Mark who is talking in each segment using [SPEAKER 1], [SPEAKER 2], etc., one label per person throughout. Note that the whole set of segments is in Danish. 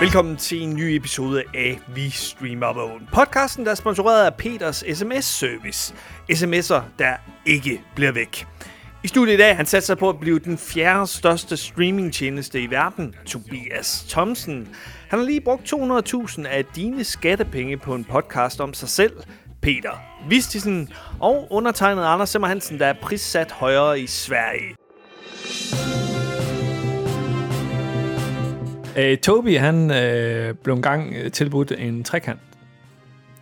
[SPEAKER 1] Velkommen til en ny episode af Vi Streamer Vågen. Podcasten, der er sponsoreret af Peters sms-service. SMS'er, der ikke bliver væk. I studiet i dag, han satte sig på at blive den fjerde største streamingtjeneste i verden, Tobias Thomsen. Han har lige brugt 200.000 af dine skattepenge på en podcast om sig selv, Peter Vistisen, og undertegnet Anders Simmer Hansen, der er prissat højere i Sverige.
[SPEAKER 2] Øh, Toby, han øh, blev engang øh, tilbudt en trekant.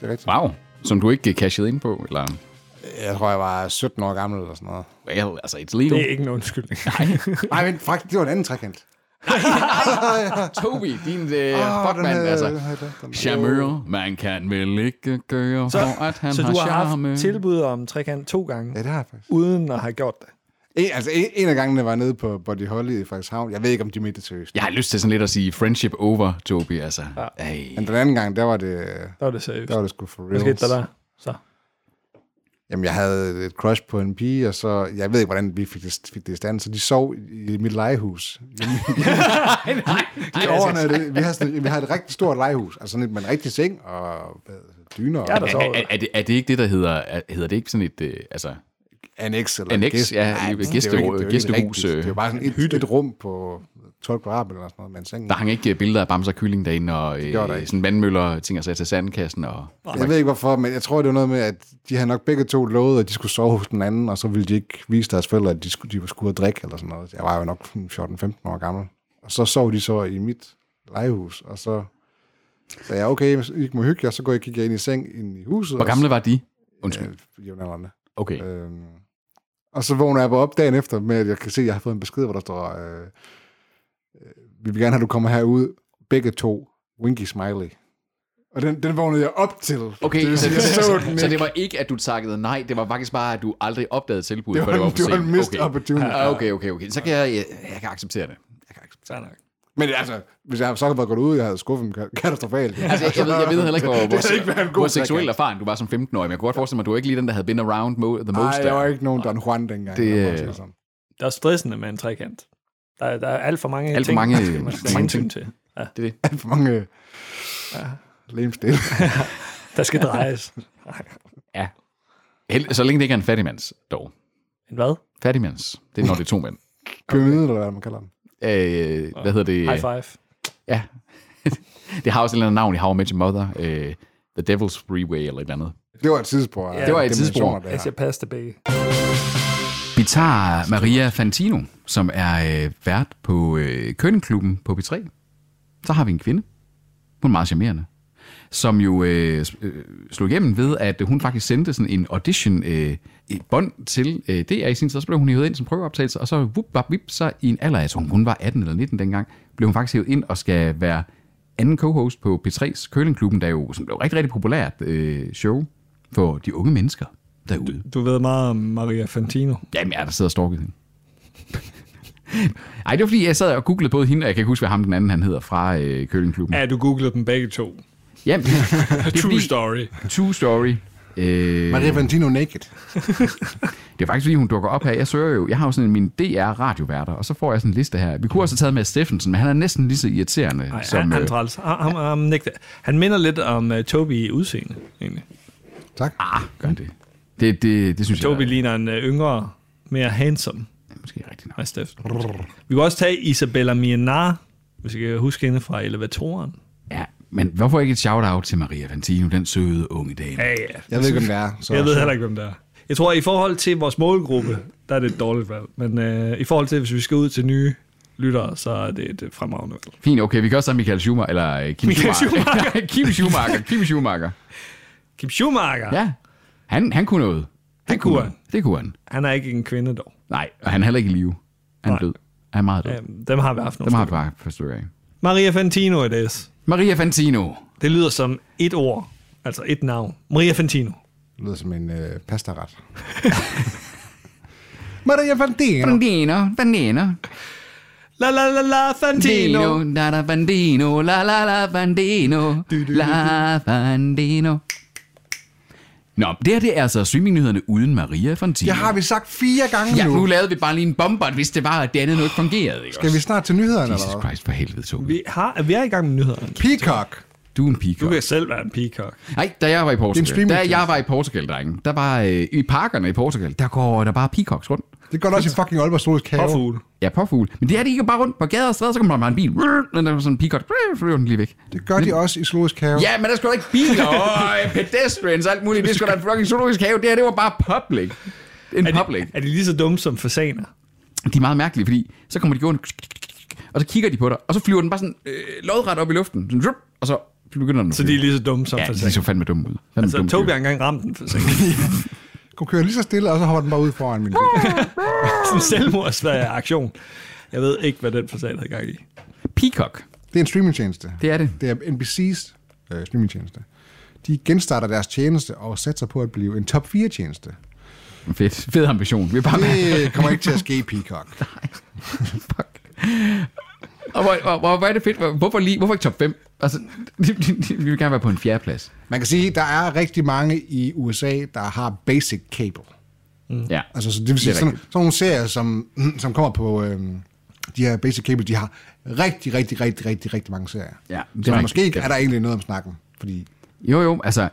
[SPEAKER 3] Det er rigtigt.
[SPEAKER 4] Wow, som du ikke cashede ind på, eller?
[SPEAKER 3] Jeg tror, jeg var 17 år gammel eller sådan noget.
[SPEAKER 4] Well, altså, it's legal.
[SPEAKER 2] Det er ikke en undskyldning.
[SPEAKER 3] Nej, men faktisk, det var en anden trekant.
[SPEAKER 4] Toby, din uh, oh,
[SPEAKER 3] Åh, den
[SPEAKER 4] fuckman,
[SPEAKER 3] havde-
[SPEAKER 4] altså.
[SPEAKER 3] den havde- den havde-
[SPEAKER 4] Charmeur, man kan vel ikke gøre, så, for at han
[SPEAKER 2] Så
[SPEAKER 4] har
[SPEAKER 2] du har
[SPEAKER 4] charme.
[SPEAKER 2] haft tilbud om trekant to
[SPEAKER 3] Ja,
[SPEAKER 2] gange,
[SPEAKER 3] det har jeg faktisk.
[SPEAKER 2] uden at have gjort det.
[SPEAKER 3] En, altså, en, en af gangene var jeg nede på Body Holly i Frederikshavn. Jeg ved ikke, om de mente det seriøst.
[SPEAKER 4] Jeg har lyst til sådan lidt at sige friendship over, Toby, altså. Ja. Ej.
[SPEAKER 3] Men den anden gang, der var det,
[SPEAKER 2] Der var det seriøst.
[SPEAKER 3] der var det sgu for
[SPEAKER 2] Hvad
[SPEAKER 3] real.
[SPEAKER 2] skete der der? Så.
[SPEAKER 3] Jamen, jeg havde et crush på en pige, og så... Jeg ved ikke, hvordan vi fik det, fik det i stand, så de sov i mit legehus.
[SPEAKER 4] Ej,
[SPEAKER 3] Det overnattede. Vi har, sådan, vi har et rigtig stort legehus. Altså sådan et med en rigtig seng og hvad, dyner og
[SPEAKER 2] Ja, der
[SPEAKER 4] Er,
[SPEAKER 2] sover.
[SPEAKER 4] er, er, det, er det ikke det, der hedder, er, hedder det ikke sådan et, øh, altså,
[SPEAKER 3] annex eller
[SPEAKER 4] Annex,
[SPEAKER 3] gæst-
[SPEAKER 4] ja,
[SPEAKER 3] Nej,
[SPEAKER 4] i-
[SPEAKER 3] det er jo
[SPEAKER 4] gæsterå-
[SPEAKER 3] ikke- det er jo ikke
[SPEAKER 4] gæstehus,
[SPEAKER 3] rigtigt. Det er jo
[SPEAKER 4] øh,
[SPEAKER 3] bare sådan et, et rum på 12 kvadratmeter eller sådan noget med en seng. i.
[SPEAKER 4] der hang ikke billeder af Bamser Kylling derinde, og
[SPEAKER 3] gjorde der
[SPEAKER 4] øh,
[SPEAKER 3] ikke.
[SPEAKER 4] sådan vandmøller, ting og sager til sandkassen, og
[SPEAKER 3] Jeg ved ikke hvorfor, men jeg tror, det var noget med, at de havde nok begge to lovet, at de skulle sove hos den anden, og så ville de ikke vise deres forældre, at de skulle, de skulle ud og drikke eller sådan noget. Jeg var jo nok 14-15 år gammel. Og så sov de så i mit legehus, og så sagde jeg, okay, hvis I ikke må hygge jer, så går jeg og kigger ind i seng ind i huset.
[SPEAKER 4] hvor gamle var de? Undskyld.
[SPEAKER 3] Øh, jævnaldrende.
[SPEAKER 4] Okay.
[SPEAKER 3] Øhm, og så vågner jeg bare op dagen efter med, at jeg kan se, at jeg har fået en besked, hvor der står, øh, øh, vi vil gerne have, at du kommer herud, begge to, winky smiley. Og den, den vågnede jeg op til.
[SPEAKER 4] Okay,
[SPEAKER 3] det
[SPEAKER 4] det
[SPEAKER 3] vil
[SPEAKER 4] så,
[SPEAKER 3] sige,
[SPEAKER 4] så,
[SPEAKER 3] jeg
[SPEAKER 4] så,
[SPEAKER 3] så den
[SPEAKER 4] så, så
[SPEAKER 3] ikke.
[SPEAKER 4] det var ikke, at du takkede nej, det var faktisk bare, at du aldrig opdagede tilbuddet,
[SPEAKER 3] Det
[SPEAKER 4] før
[SPEAKER 3] var
[SPEAKER 4] det var
[SPEAKER 3] en-
[SPEAKER 4] for
[SPEAKER 3] det var en
[SPEAKER 4] sent.
[SPEAKER 3] missed opportunity.
[SPEAKER 4] Ah, Okay, okay, okay. Så kan jeg, jeg, jeg kan acceptere det. Altså, Jeg kan acceptere det.
[SPEAKER 3] Men altså, hvis jeg så havde været gået ud, jeg havde skuffet dem ka- katastrofalt.
[SPEAKER 4] Altså, jeg, jeg, ved, jeg ved heller ikke, hvor,
[SPEAKER 3] det havde ikke været
[SPEAKER 4] hvor,
[SPEAKER 3] en
[SPEAKER 4] hvor
[SPEAKER 3] god
[SPEAKER 4] seksuel erfaren du var som 15-årig, men jeg kunne godt forestille mig, at du var ikke lige den, der havde been around mo- the most.
[SPEAKER 3] Nej,
[SPEAKER 4] der.
[SPEAKER 3] jeg var ikke nogen Don Juan dengang.
[SPEAKER 4] Det-
[SPEAKER 3] jeg må sige sådan.
[SPEAKER 2] Det er også stressende med en trekant. Der, er- der er alt for mange
[SPEAKER 4] Alt for
[SPEAKER 2] ting,
[SPEAKER 4] mange-
[SPEAKER 2] der skal man tage
[SPEAKER 4] mange
[SPEAKER 2] hensyn
[SPEAKER 4] ting.
[SPEAKER 2] til.
[SPEAKER 4] Det, er det.
[SPEAKER 3] Alt for mange øh, ja. lemstil.
[SPEAKER 2] Der skal drejes.
[SPEAKER 4] Held, så længe det ikke er en fattigmands, dog.
[SPEAKER 2] En hvad?
[SPEAKER 4] Fattigmands, det er når det er to mænd.
[SPEAKER 3] Pyramide, eller hvad man kalder den.
[SPEAKER 4] Øh, hvad hedder det?
[SPEAKER 2] High five.
[SPEAKER 4] Ja. det har også et eller andet navn i How I Met Your Mother. Øh, The Devil's Freeway eller et eller andet.
[SPEAKER 3] Det var et tidsspor. af
[SPEAKER 2] Det
[SPEAKER 4] var et
[SPEAKER 3] dimensioner,
[SPEAKER 4] tidsspor.
[SPEAKER 3] det her.
[SPEAKER 2] As you pass the bay.
[SPEAKER 4] Vi tager Maria Fantino, som er øh, vært på øh, Køkkenklubben på B3. Så har vi en kvinde. Hun er meget charmerende. Som jo øh, s- øh, slog igennem ved, at hun faktisk sendte sådan en audition øh, et bånd til øh, DR i sin tid. Så blev hun hævet ind som prøveoptagelse, og så vup, bap, vip, så i en alder, jeg tror hun var 18 eller 19 dengang, blev hun faktisk hævet ind og skal være anden co-host på P3's Køllingklubben, der jo som blev et rigtig, rigtig populært øh, show for de unge mennesker derude.
[SPEAKER 2] Du ved meget om Maria Fantino.
[SPEAKER 4] Jamen, jeg der sidder og stalker hende. Ej, det var fordi, jeg sad og googlede både hende, og jeg kan ikke huske, hvad ham den anden han hedder fra øh, Køllingklubben.
[SPEAKER 2] Ja, du googlede dem begge to.
[SPEAKER 4] Jamen, det er
[SPEAKER 2] True
[SPEAKER 4] fordi-
[SPEAKER 2] story.
[SPEAKER 4] True story. Øh,
[SPEAKER 3] Maria Valentino Naked.
[SPEAKER 4] det er faktisk, fordi hun dukker op her. Jeg søger jo, jeg har jo sådan min DR-radioværter, og så får jeg sådan en liste her. Vi kunne også have taget med Steffensen, men han er næsten lige så irriterende
[SPEAKER 2] Ej,
[SPEAKER 4] som...
[SPEAKER 2] han, han,
[SPEAKER 4] øh,
[SPEAKER 2] træls. han, han, han, nægter. han minder lidt om uh, Toby i udseende, egentlig.
[SPEAKER 3] Tak.
[SPEAKER 4] ah, gør det. Det, det, det synes
[SPEAKER 2] Toby
[SPEAKER 4] jeg, der,
[SPEAKER 2] ligner en øh, yngre, mere handsome
[SPEAKER 4] er måske rigtigt nok.
[SPEAKER 2] af Steff. Vi kan også tage Isabella Mienar, Ah. hvis jeg kan huske hende fra elevatoren.
[SPEAKER 4] Ja, men hvorfor ikke et shout-out til Maria Fantino, den søde unge dame?
[SPEAKER 2] Ja, ja.
[SPEAKER 3] Jeg ved ikke, hvem det er. Så
[SPEAKER 2] Jeg ved heller ikke, hvem der er. Jeg tror, at i forhold til vores målgruppe, der er det et dårligt valg. Men øh, i forhold til, hvis vi skal ud til nye lyttere, så er det et øh, fremragende valg.
[SPEAKER 4] Fint, okay, vi kan også have Michael Schumacher, eller øh, Kim
[SPEAKER 2] Michael
[SPEAKER 4] Schumacher. Kim Schumacher, Kim Schumacher.
[SPEAKER 2] Kim Schumacher, ja.
[SPEAKER 4] Ja, han, han kunne noget. Han
[SPEAKER 2] kunne han.
[SPEAKER 4] noget. Det kunne han.
[SPEAKER 2] han er ikke en kvinde dog.
[SPEAKER 4] Nej, og han er heller ikke i live. Han er
[SPEAKER 2] Nej.
[SPEAKER 4] død. Han er meget død.
[SPEAKER 2] Øhm, Dem har vi haft
[SPEAKER 4] Dem
[SPEAKER 2] nogle.
[SPEAKER 4] har
[SPEAKER 2] Har...
[SPEAKER 4] vi bare forstået af.
[SPEAKER 2] Maria Fantino i DS.
[SPEAKER 4] Maria Fantino.
[SPEAKER 2] Det lyder som et ord, altså et navn. Maria Fantino.
[SPEAKER 3] Det lyder som en øh, pastaret. Maria Valentino.
[SPEAKER 4] Fantino, Fantino.
[SPEAKER 2] La la la la Fantino.
[SPEAKER 4] Dino, la la Fantino, la la la Fantino, la Fantino. Nå, det her det er altså streamingnyhederne uden Maria Fantino.
[SPEAKER 3] Det har vi sagt fire gange
[SPEAKER 4] Ja, nu
[SPEAKER 3] nu.
[SPEAKER 4] lavede vi bare lige en bombert, hvis det var, at det andet nu ikke fungerede. Ikke
[SPEAKER 3] Skal vi snart til nyhederne, eller
[SPEAKER 4] Jesus
[SPEAKER 3] hvad?
[SPEAKER 4] Christ, for helvede, Tobi.
[SPEAKER 2] Vi, har, vi er i gang med nyhederne.
[SPEAKER 3] Peacock.
[SPEAKER 4] Du er en
[SPEAKER 2] Du
[SPEAKER 4] peacock.
[SPEAKER 2] kan selv være en peacock.
[SPEAKER 4] Nej, da jeg var i Portugal, da
[SPEAKER 3] streamingtjeneste.
[SPEAKER 4] jeg var i Portugal, drenge, der var øh, i parkerne i Portugal, der går der bare peacocks rundt.
[SPEAKER 3] Det går da også i fucking Aalborg Zoologisk Have.
[SPEAKER 2] Påfugle.
[SPEAKER 4] Ja, påfugle. Men det er de ikke bare rundt på gader og stræder, så kommer der bare en bil. Men der er sådan en peacock. Flyver den lige væk.
[SPEAKER 3] Det gør de også i Zoologisk Have.
[SPEAKER 4] Ja, men der skulle da ikke biler og øh, pedestrians og alt muligt. Det skulle da en fucking zoologisk have. Det her, det var bare public. En
[SPEAKER 2] Er
[SPEAKER 4] public.
[SPEAKER 2] de, er de lige så dumme som fasaner?
[SPEAKER 4] De er meget mærkelige, fordi så kommer de gående, og så kigger de på dig, og så flyver den bare sådan øh, lodret op i luften. Sådan, rup, og så begynder den
[SPEAKER 2] Så de er lige så dumme som
[SPEAKER 4] ja, de så
[SPEAKER 2] fasaner.
[SPEAKER 4] fandme dumme ud. Fandme
[SPEAKER 2] Altså,
[SPEAKER 4] dumme
[SPEAKER 2] Tobi
[SPEAKER 4] dyr.
[SPEAKER 2] har engang ramt en fasan.
[SPEAKER 3] Hun kører lige så stille, og så hopper den bare ud foran min bil.
[SPEAKER 4] Ah.
[SPEAKER 2] Sådan en selvmordsaktion. Jeg ved ikke, hvad den fasan havde gang i.
[SPEAKER 4] Peacock,
[SPEAKER 3] Det er en streamingtjeneste.
[SPEAKER 4] det er det.
[SPEAKER 3] Det er NBC's øh, streamingtjeneste. De genstarter deres tjeneste og satser på at blive en top 4 tjeneste.
[SPEAKER 4] Fedt. Fed ambition. Vi er bare med.
[SPEAKER 3] Det kommer ikke til at ske i Peacock.
[SPEAKER 4] Fuck. Og hvor, hvor, hvor, hvor er det fedt. Hvor- Hvorfor, lige, hvorfor ikke top 5? Altså, vi vil gerne være på en fjerde plads.
[SPEAKER 3] Man kan sige, at der er rigtig mange i USA, der har basic cable.
[SPEAKER 4] Ja.
[SPEAKER 3] Altså, så det vil sige,
[SPEAKER 4] Det er
[SPEAKER 3] sådan, sådan nogle serier, som, som kommer på øh, de her basic cable, de har rigtig, rigtig, rigtig, rigtig, rigtig mange serier.
[SPEAKER 4] Ja, det
[SPEAKER 3] så er
[SPEAKER 4] er rigtigt.
[SPEAKER 3] måske ikke,
[SPEAKER 4] Ja.
[SPEAKER 3] er der egentlig noget om snakken, fordi
[SPEAKER 4] Jo, jo, altså...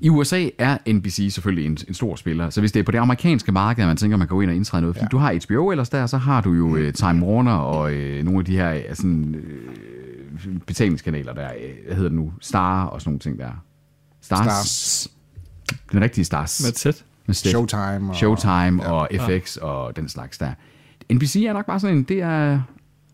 [SPEAKER 4] I USA er NBC selvfølgelig en, en stor spiller, så hvis det er på det amerikanske marked, at man tænker, man kan gå ind og indtræde noget, fordi ja. du har HBO ellers der, så har du
[SPEAKER 3] Mm.
[SPEAKER 4] jo øh, Time Warner og øh, nogle af de her øh, sådan, øh, betalingskanaler der, øh, hvad hedder det nu, Star og sådan nogle ting der. Stars.
[SPEAKER 3] Stars.
[SPEAKER 4] Den rigtige Stars.
[SPEAKER 2] Med et sæt.
[SPEAKER 4] Med Steph.
[SPEAKER 3] Showtime og-
[SPEAKER 4] Showtime og FX og den slags der. NBC er nok bare sådan en, det er,